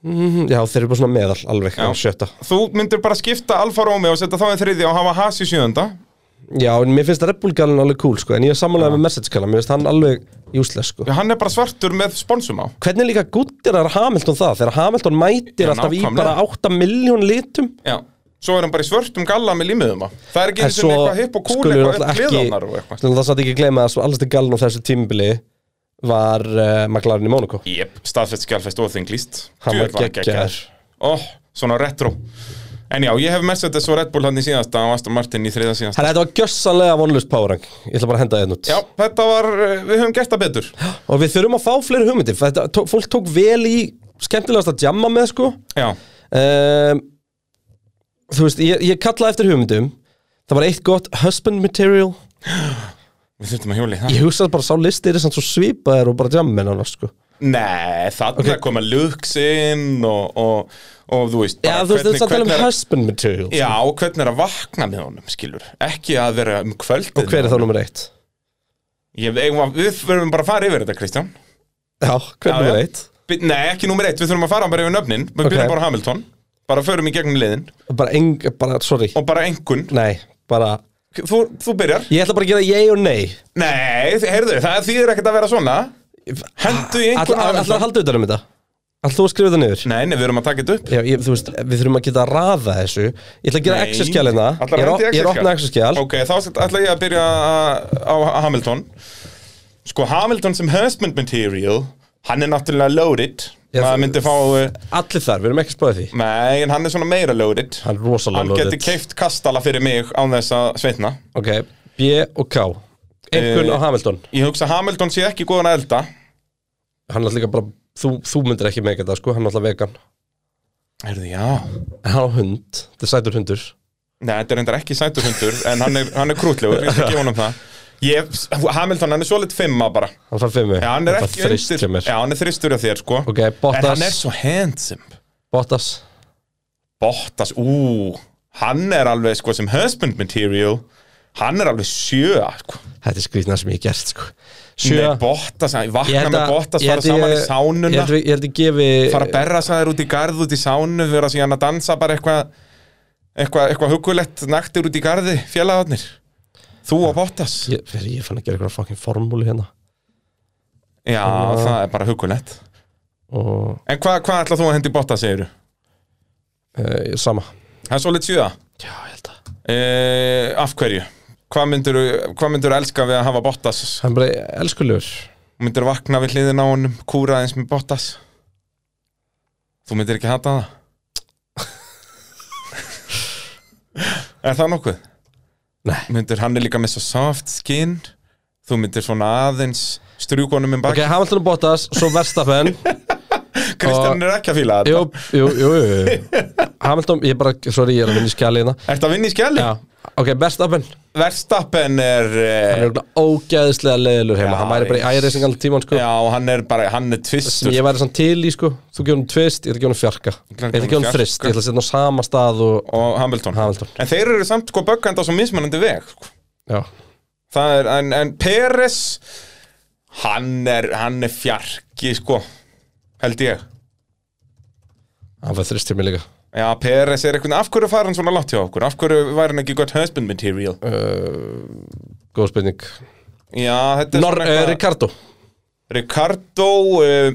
S1: Mhm, já, þeir eru bara svona meðal alveg já. sjötta
S2: Þú myndir bara skipta Alfa Romeo og setja þá í þriðja og hafa Haas í sjöunda
S1: já, en mér finnst Red Bull galinn alveg cool sko, en ég er samanlega með Mercedes galinn mér finnst hann alveg useless sko.
S2: Já, Hann er bara svartur með sponsum á
S1: hvernig líka guttir er Hamilton það þegar Hamilton mætir
S2: Já,
S1: alltaf í
S2: nákvæmlega.
S1: bara 8 miljón litum
S2: Já Svo er hann bara í svörtum galla með límiðum á Það er ekki
S1: En
S2: eins og eitthvað hipp og kúl
S1: skulum við
S2: eitthvað
S1: náttúrulega
S2: upp hliðanar og
S1: ekki
S2: eitthvað
S1: skulum það satt ekki gleyma að svo alls til galn á þessu tímbili var uh, McLaren í Monaco
S2: Jep, staðfest, skjálfest og þinglist
S1: Hann var
S2: Djöfull
S1: geggjaður.
S2: Ó, svona Oh, retro En já, ég hef Mercedes og Red Bull hann í síðasta og Aston Martin í þriða síðasta
S1: Þannig að þetta var gjössanlega vonlust powerang Ég ætla bara að henda þetta út
S2: Já, þetta var, eh, við höfum gert það betur
S1: Og við þurfum að fá fleiri hugmyndir fyrir þetta, tó, Fólk tók vel í skemmtilegast að jamma með sko
S2: Já,
S1: um, Þú veist, ég, ég kallaði eftir hugmyndum Það var eitt gott husband material
S2: við þurftum að hjóli það
S1: Ég hugsaði bara sá listir er samt svo svipaðir og bara jammin hann sko
S2: Nei, þarna koma looksinn og, og, og þú veist
S1: Já,
S2: bara
S1: þú veist, þetta er samt að tala um
S2: hvernig er,
S1: husband material
S2: Já, og hvernig er að vakna með honum, skilur Ekki að vera um kvöld
S1: Og hver er þá nummer eitt?
S2: Ég, eigum að- við verðum bara að fara yfir þetta, Kristján
S1: Já, hver er
S2: Já,
S1: nummer
S2: já.
S1: eitt?
S2: Bi- Nei, ekki nummer eitt, við þurfum að fara bara yfir nöfnin Við
S1: Ok.
S2: byrjum bara á Hamilton Bara förum í gegnum liðin
S1: Bara eng, bara, sorry
S2: Og bara engun
S1: Nei, bara
S2: Þú, þú byrjar
S1: Ég ætla bara að gera ég og nei
S2: Nei, þi- heyrðu, það þýðir ekkert að vera svona Hendu í
S1: Ætla
S2: einhvern
S1: ætla að halda utan um þetta Ætla þú að skrifa þetta niður
S2: Nei, nei, við erum að taka þetta upp
S1: Já, ég, þú veist, við þurfum að geta að raða þessu Ég ætla að gera
S2: Nei.
S1: exerskjælina Ég
S2: Ætlarðu
S1: er
S2: að
S1: op-
S2: henda í
S1: ég er opnað
S2: Excel-skjal?
S1: exerskjæl
S2: Ok, þá ætla ætla ég að byrja á á Hamilton Sko, Hamilton sem husband material Hann er náttúrulega loaded
S1: Já, þú-
S2: Maður myndi fá uh,
S1: Allir þar, við erum ekki að spáði því
S2: Nei, en hann er svona meira loaded
S1: Hann er rosalega
S2: Hann
S1: loaded.
S2: geti keift kastala fyrir mig án þess að sveitna
S1: Ok, B og K Einhvern á
S2: Eh.
S1: Hamilton
S2: Ég hugsa að Hamilton sé ekki góðan að elda
S1: Hann er alltaf líka bara, þú, þú myndir ekki með þetta sko Hann er alltaf vegan
S2: Heyrðu, já
S1: En hann á hund, þetta er sætur hundur
S2: Nei, þetta er reyndar ekki sætur hundur En hann er, hann er krútlegur, ég skal gefa honum um það ég, Hamilton, hann er svo lit fimma bara
S1: Hann fær fimmu
S2: Já, hann er
S1: fær
S2: ekki
S1: þrist hjá
S2: undir
S1: mér.
S2: Já, hann er þristur af þér, sko
S1: Ok,
S2: En hann er
S1: Bottas
S2: svo handsome
S1: Bottas
S2: Bottas, ú Hann er alveg sko sem husband material Hann er alveg sjö sko.
S1: Þetta er skrýtna sem ég hef gert sko
S2: Nei,
S1: Sjö
S2: Bottas, hann- ég
S1: Ég
S2: vakna
S1: held
S2: með
S1: að-
S2: Bottas
S1: ég held
S2: fara
S1: ég-
S2: saman í
S1: Ég
S2: sánuna
S1: held við- ég held ég gefi
S2: fara að berra sæður út í garð, út í sánu vera síðan að dansa bara eitthvað eitthvað eitthva hugulegt naktir út í garði félagarnir Þú og Bottas
S1: Ég, fyrir, ég fann að gera eitthvað fucking formúlu hérna
S2: Já, það er bara hugulegt
S1: og
S2: En hvað hva ætla þú að hendi Bottas, segirðu?
S1: uh, sama
S2: Það er svolít sjöða
S1: Já, ég held að
S2: e, Af hverju? Hvað myndirðu hva myndir elska við að hafa Bottas?
S1: Hann er bara elskulegur
S2: Myndir vakna við hliðin á honum, kúra eins með Bottas Þú myndir ekki hata það Er það nokkuð?
S1: Nei.
S2: Myndir hann er líka með svo soft skin Þú myndir svona aðeins um strjúkonum með
S1: Ok,
S2: baki
S1: Hamilton og Bottas, svo Verstappen
S2: Kristján er ekki að fíla
S1: Jú,
S2: þetta
S1: jú, jú, jú, jú. Hamilton, ég bara, sorry, ég er að vinna í skjali hérna
S2: Ertu að vinna í skjæli?
S1: Já, ok, Verstappen
S2: Verstappen er,
S1: Hann
S2: eh,
S1: er örugglega ógæðislega leiðilur heima
S2: Já,
S1: Hann væri bara í æreising allir tíman, sko
S2: Já, hann er bara, hann er
S1: Sem
S2: tvistur
S1: ég væri samt til í, sko Þú gefur hann tvist, ég ætla að gefa hann fjarka Ég
S2: ætla að
S1: ætla að gefa hann
S2: gefa honum
S1: frist,
S2: fjarka.
S1: ég ætla að setja hann á sama stað og
S2: og Hamilton.
S1: Hamilton
S2: En þeir eru samt sko böggandi á svo mismunandi veg sko.
S1: Já,
S2: Það er, en, en Peres hann er, hann er fjarki sko, held ég
S1: hann fær þrist til mig líka
S2: Já, Peres er eitthvað, af hverju fara hann svona látt hjá okkur? Af hverju væri hann ekki gott husband material?
S1: Góð spurning
S2: Já, þetta er
S1: Nor, uh, Ricardo
S2: Ricardo uh,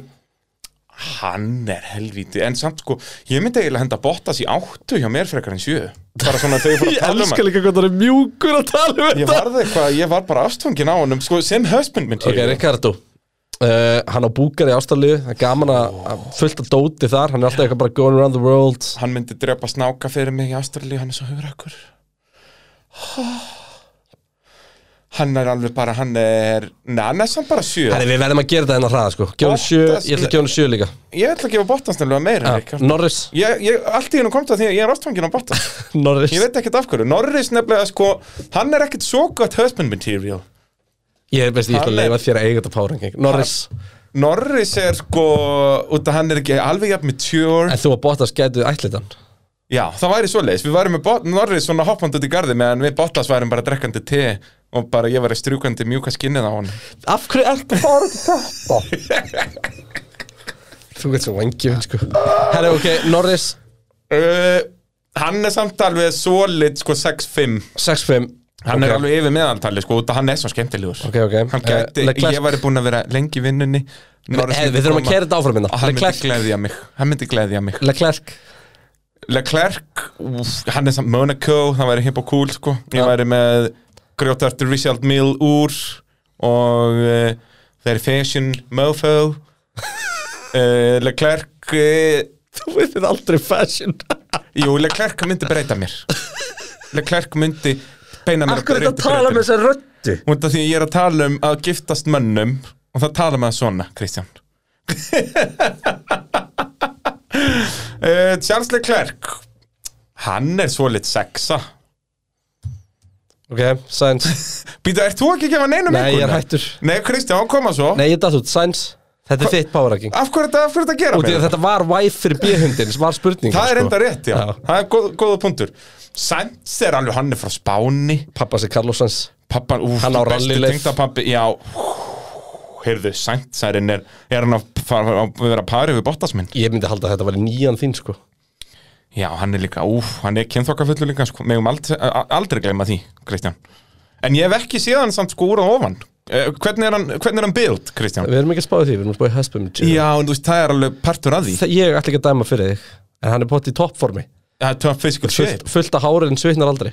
S2: hann er helvíti en samt sko, ég myndi eiginlega henda Bottas í áttu hjá mér frekar en sjö bara svona þegar ég fór að tala um hann
S1: líka hvað það er mjúkur að tala um
S2: Ég varð eitthvað, ég var bara afstfangin á honum sko, sem husband
S1: Ok,
S2: material
S1: Ricardo uh, Hann á búkar í ástallíu Það er gaman að oh. fullt að dóti þar Hann er alltaf eitthvað bara going around the world
S2: hann myndi drepa snáka fyrir mig í Ástralíu, hann er svo hugrakkur hann er alveg bara hann er, neða, hann er samt bara sjö
S1: Herri, við verðum að gera þetta hennar hraða sko Gjónu sjö,
S2: Bottas-
S1: ég ætla að gjónu sjö líka Ah,
S2: ég ætla að gefa Bottas nefnilega meira en Ríkard.
S1: Norris,
S2: ég, ég, allt í hennu komst að því að ég er ástfangin á Bottas
S1: Norris
S2: ég
S1: Ég,
S2: veit ekkert af hverju, Norris nefnilega sko hann er ekkert svo gott husband material
S1: veist, ég ætla
S2: Hann
S1: að
S2: er-
S1: leifa þér að eiga þetta párangeng Norris,
S2: Norris er sko, út af hann er ekki alveg jafn mature,
S1: en þú að Bottas gætu ætlið hann
S2: já það væri svoleiðis við værum með Bot Norris svona hoppandi út í garði meðan við Bottas værum bara drekkandi te og bara ég væri strjúkandi mjúka skinnið á hann
S1: Af hverju ertu fara til þetta? þú veit svo vangjum sko Herri, ok, Norris,
S2: Uh, hann er samt alveg solid sko 6-5
S1: 6-5
S2: Hann
S1: Ok,
S2: er alveg yfir meðaltali sko út að hann er svo skemmtilegur
S1: Ok, ok
S2: Hann gæti,
S1: Eh, Leclerc-
S2: ég væri búinn að vera lengi í vinnunni Norris
S1: Eh,
S2: myndi
S1: Við þurfum að
S2: koma-
S1: kæra þetta áfram minna
S2: og Hann myndi
S1: Leclerc,
S2: gleðja mig Hann myndi gleðja mig
S1: Leclerc
S2: Leclerc, úf, hann er samt Monaco Það væri hipp og cool sko Ég
S1: Ja.
S2: væri með grjótartur Richard Mill úr Og uh, þeir fashion mofo uh, Leclerc eh, uh,
S1: Þú veitir aldrei fashion
S2: Jú, Leclerc myndi breyta mér Leclerc myndi beina mér
S1: Akkur þetta tala með þessar röttu
S2: Út af því að ég er að tala um að giftast mönnum og það tala með svona, Kristján uh, Charles Leclerc Hann er svo lit sexa
S1: Ok, Sainz
S2: Býta, ert þú ekki að gefa neinum
S1: Nei, ég er
S2: einhverjum?
S1: hættur
S2: Nei, Kristján, hann koma svo
S1: Nei, ég datt út, Sainz Þetta er þitt powerhacking
S2: Af hverju er þetta, af hverju er þetta að gera
S1: Útið að
S2: mér?
S1: þetta var væf fyrir bíhundin sem var sko. spurning
S2: Það er enda rétt, já,
S1: Já.
S2: Það er góð, góða punktur Sainz er alveg, hann er frá Spáni
S1: Pappa sig Carlos Sainz
S2: Pappan, úf,
S1: Hann á rallyleif.
S2: Tengdapappi, já Heyrðu, Saintsærin er Er hann að fara að vera parið við Bottas minn?
S1: Ég myndi halda að þetta var nýjan þín sko
S2: Já, hann er líka, úf, hann er kynþokkafullu líka sko. Megum aldrei, aldrei gleyma því, Kristján En ég hef ekki séð hann samt sko úr að ofan Eh, Hvernig er hann, hvernig er hann build, Kristján?
S1: Við erum ekki að spáði því, við erum að spáði Hespum
S2: Já, en þú veist, það er alveg partur að því
S1: Ég ætla ekki að dæma fyrir þig En hann er pott í toppformi
S2: Það er tough physical shape
S1: fullt, fullt að hárið en svitnar aldrei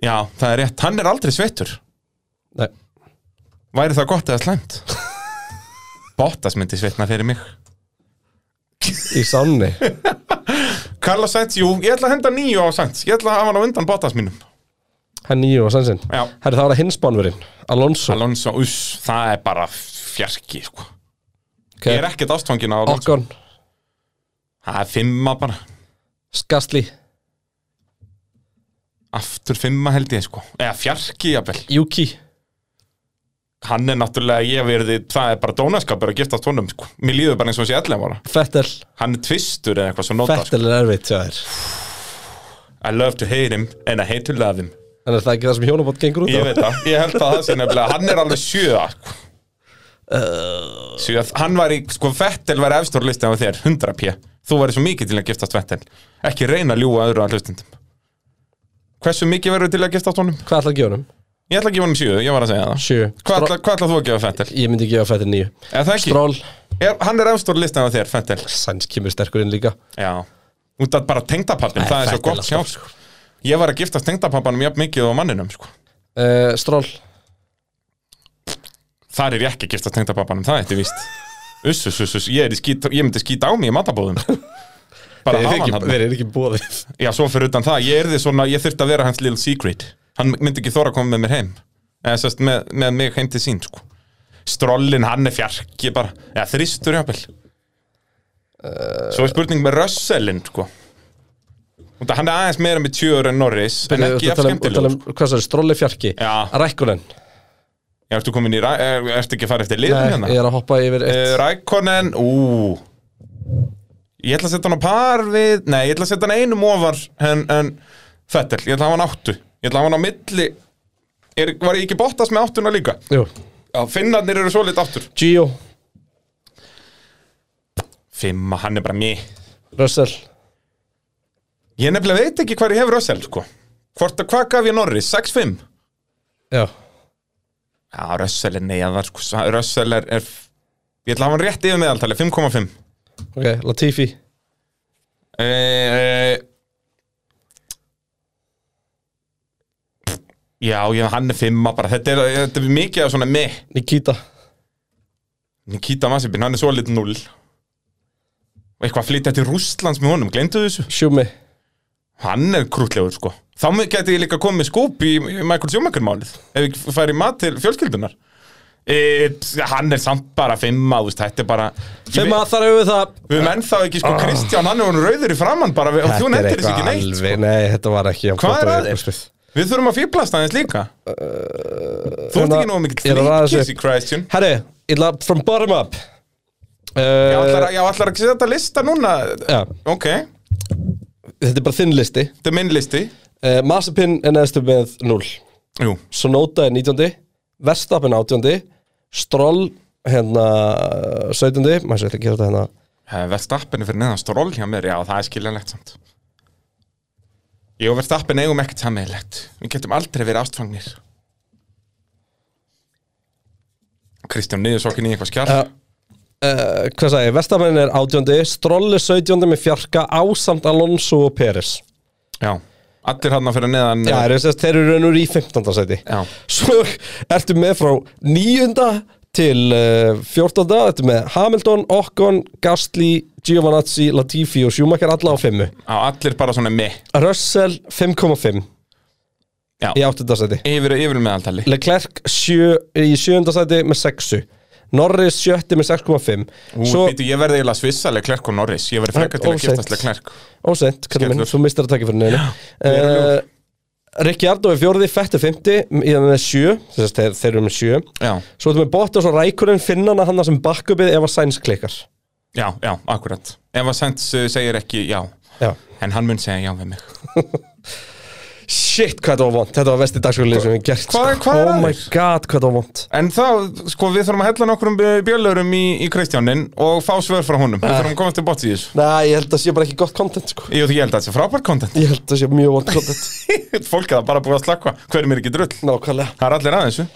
S2: Já, það er rétt, hann er aldrei sveittur
S1: Nei,
S2: Væri það gott eða slæmt? Bottas myndi sveitna fyrir mig
S1: í sánni
S2: Carlos Sainz, jú, ég ætla að henda nýju á Sainz Ég ætla að hafa hann á undan Bottas mínum
S1: Hann nýju og sannsinn
S2: Já.
S1: Herri, það var að hinn spánverinn Alonso
S2: Alonso, uss, það er bara fjarki sko.
S1: okay.
S2: Ég er ekkert ástfangin á Alonso
S1: Okkon,
S2: Það er fimma bara,
S1: Skastli,
S2: aftur fimma held ég sko. Eða fjarki, jafnvel
S1: Yuki
S2: Hann er náttúrulega, ég verði, það er bara dónaskapur að giftast honum sko. Mér líður bara eins og hans ég ætla bara
S1: Fettel
S2: Hann er tvistur eða eitthvað svo nota sko.
S1: Fettel er erfitt hjá þér
S2: I love to hate him and I hate to love him
S1: En er það ekki það sem hjónabótt gengur út
S2: Ég
S1: á?
S2: veit það, ég held að það sé nefnilega Hann er alveg sjöða sko.
S1: Uh.
S2: Sjöða, hann var í, sko, Vettel var efstur listið á þér, 100p Þú væri svo mikið til að giftast Vettel Ekki reyna að ljúga öðru að hlustendum Hversu mikið verður til að giftast honum?
S1: Hvað ætla að gefa honum?
S2: Ég ætla að gefa honum sjöðu, ég var að segja það
S1: Sjö
S2: Hvað
S1: Stró-
S2: ætla, hvað ætla þú að gefa Vettel?
S1: Ég myndi gefa Fettel nýju
S2: Eða það ekki?
S1: Stról
S2: Er, hann er efstur listið á þér, Vettel
S1: Sanns kemur sterkur inn líka
S2: Já Út að bara tengdapappin, það er svo
S1: Vettel
S2: gott
S1: alltaf,
S2: hjá
S1: sko.
S2: Ég var að giftast tengdapappanum jafn mikið og manninum, sko
S1: Eh, Stról
S2: Þar er ég ekki að giftast tengdapappanum, það er þetta víst Uss, uss, uss, uss, ég, er í skít, ég myndi skýta á mig í matabóðum Bara
S1: Þeir eru
S2: hafa hann
S1: ekki-
S2: hann
S1: þeir eru ekki bóðið
S2: Já, svo fyrir utan það, ég, yrði svona, ég þurfti að vera hans little secret Hann myndi ekki þóra að koma með mér heim Eða sérst með, með mig heim til sín, sko Strollin, hann er fjarki bara Eða þristur jáfnvel Svo er spurning með Russellin, sko Út af Hann er aðeins meira með tjöður en Norris En
S1: Þú
S2: ekki
S1: ert að
S2: jafn
S1: tala um- þú ert að tala
S2: skemmtilegur
S1: um- Hvað sagði, Stról er fjarki
S2: Já,
S1: Rækkunen
S2: já, ertu komin í, ræ- er, ertu ekki að fara eftir liðum hérna?
S1: Ég er að hoppa yfir
S2: Eh,
S1: eitt
S2: Rækonen, ú Ég ætla að setja hann á par við Nei, ég ætla að setja hann einum ofar en, en Fettel, ég ætla að hafa hann áttu Ég ætla að hafa hann á milli er, Var ég ekki bóttast með áttuna líka?
S1: Jú
S2: Já, finnarnir eru svo lit áttur
S1: Gio
S2: Fimma, hann er bara mér
S1: Russell
S2: Ég nefnilega veit ekki hvað ég hef Russell, sko Hvort að hvað gaf ég Norris? 6-5?
S1: Já
S2: Já, Russell er neyðar, sko Sa- Russell er, er Ég ætla að hafa hann rétt yfir meðaltali, 5,5
S1: Ok, Latifi
S2: Eh, eh, Já, já, hann er fimma bara Þetta er, þetta er mikið af svona meh
S1: Nikita
S2: Nikita Masipin, hann er svo litið null Og eitthvað að flytja til Rússlands með honum, gleyndu þessu
S1: Schumi
S2: Hann er krútlegur, sko Þá mun- gæti ég líka komið með skóp í í Michael Schumacher málið Ef ég færi mat til fjölskyldunar e, Hann er samt bara fimma, þú veist, þetta er bara Ég
S1: Fimm
S2: veit-
S1: að Ah. þar hefur við það
S2: Við erum ennþá ekki, sko, Kristján, hann er hún rauður í framann bara við- Og þú nefndir þessu ekki neitt, sko
S1: Nei, þetta var ekki jafn
S2: Hvað
S1: gott
S2: er
S1: og
S2: að
S1: ég
S2: þér?
S1: bjóst við.
S2: Við þurfum að fýblast aðeins líka Þú ert
S1: hérna,
S2: ekki nógu mikill
S1: ég er að ræða Eh, þessu.
S2: flýtkissi, Christian
S1: Herri, ég ætla from bottom up
S2: Já, ætlar,
S1: uh,
S2: að- já, ætlar ekki að setja lista núna
S1: já,
S2: Ok, þetta
S1: Þetta er bara þinn listi
S2: er minn listi
S1: uh, Masipin er neðstu með 0
S2: Jú,
S1: Sonoda er 19 Verstappen 18 Stroll hérna 17 Mæs, ég ætla að gera þetta hérna
S2: verðstappinu Eh, fyrir neðan stról hjá mér Já, það er skiljanlegt samt Jú, verðstappinu eigum ekkert sammeðilegt Við getum aldrei verið ástfangnir Kristján niður sokkin í eitthvað skjál
S1: uh, uh, Hvað sagði, ég? Verstappen er 18 Stroll er 17 með fjarka ásamt Alonso og Peres
S2: Já, allir hann fyrir neðan
S1: Já, þeir eru sem sagt- þeir eru raunur í 15. seti
S2: Já.
S1: Svo ertu með frá 9. til uh, 14. Þetta er með Hamilton, Okkon, Gastli, Giovanazzi, Latifi og Schumacher alla á 5
S2: á allir bara svona með
S1: Russell 5,5
S2: Já.
S1: í 8. seti
S2: yfir, yfir meðaltali
S1: Leclerc sjö, í 7. seti með 6 Norris 7 með 6,5
S2: Ú,
S1: Svo,
S2: býtu, ég verði eiginlega svissaleg klerk og Norris Ég verði frekar til að
S1: Óseint.
S2: giftast klerk
S1: ósett, kallar minn,
S2: Skellur.
S1: þú mistar að taka fyrir neina
S2: erum
S1: uh, Ricciardo er 4. Fettu 50 í það með 7 þess að þeir, þeir eru með 7
S2: Já,
S1: Svo þetta með Bottas og Rækurinn finnana hann sem backupið ef að Sainz klikkar
S2: já, já, akkurat Ef að Sands uh, segir ekki já
S1: Já
S2: En hann mun segja já við mig
S1: Shit, hvað þetta var vond, þetta var vesti dagsfjörlið sem við gert
S2: Hvað-
S1: sko.
S2: hvað
S1: Oh
S2: er að
S1: my
S2: þér?
S1: god, hvað þetta var vond
S2: En þá, sko, við þurfum að hella nokkrum bjöllurum í, í Kristjánin Og fá svör frá honum Við þurfum að komast til bots í þessu
S1: Nei, ég held að sé bara ekki gott content sko
S2: Ég, ég held að þetta er frábært content
S1: Ég held að sé mjög vond content
S2: Fólk er það bara búið að slakka Hverjum er ekki drull
S1: Nákvæmlega
S2: Það er allir að þessu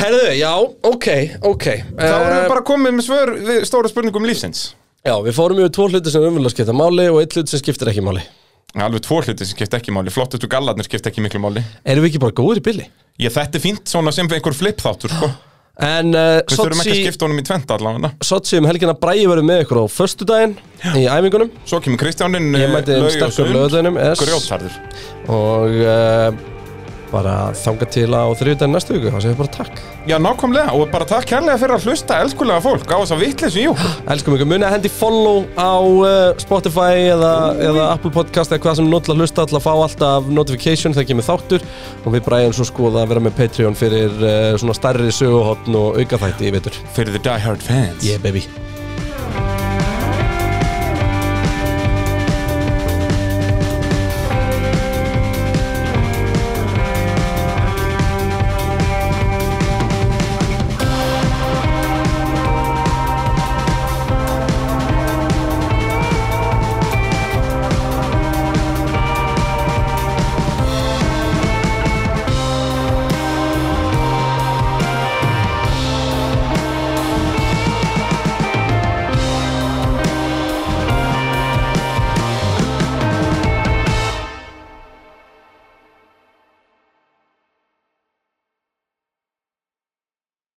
S1: Herðu, já, ok, ok
S2: Þá erum
S1: Eh,
S2: við bara komið með svör við stóra spurningum lífsins
S1: Já, við fórum yfir tvo hluti sem umvölu skipta máli og einn hluti sem skiptir ekki máli
S2: Alveg tvo hluti sem skipta ekki máli Flottustu gallarnir skipta ekki miklu máli
S1: Erum við ekki bara góðir í billi?
S2: Ég þetta er fínt svona sem einhver flip þáttur sko.
S1: En uh,
S2: Við þurfum ekki að
S1: Sotsi,
S2: skipta honum í tvent allavega
S1: Sotsi um helgina bræði verið með ykkur á föstudaginn í æfingunum
S2: Svo kemur eh, Kristjáninn
S1: Ég mæti þeim sterkur
S2: um
S1: lögðunum yes.
S2: Grjótarður
S1: Og uh, bara þanga til á þriðudaginn næstu viku, þá sem við bara takk
S2: Já, nákvæmlega Og bara takk kærlega fyrir að hlusta elskulega fólk á þess að vitleis í okkur
S1: Elskum ykkur, munið að hendi follow á uh, Spotify eða, eða Apple Podcast eða hvað sem notla að hlusta alltaf að fá alltaf notification þegar kemur þáttur og við bræðum svo skoða að vera með eh, Patreon fyrir uh, svona stærri söguhotn og aukaþætti í veitur.
S2: Fyrir the die hard fans
S1: Yeah baby.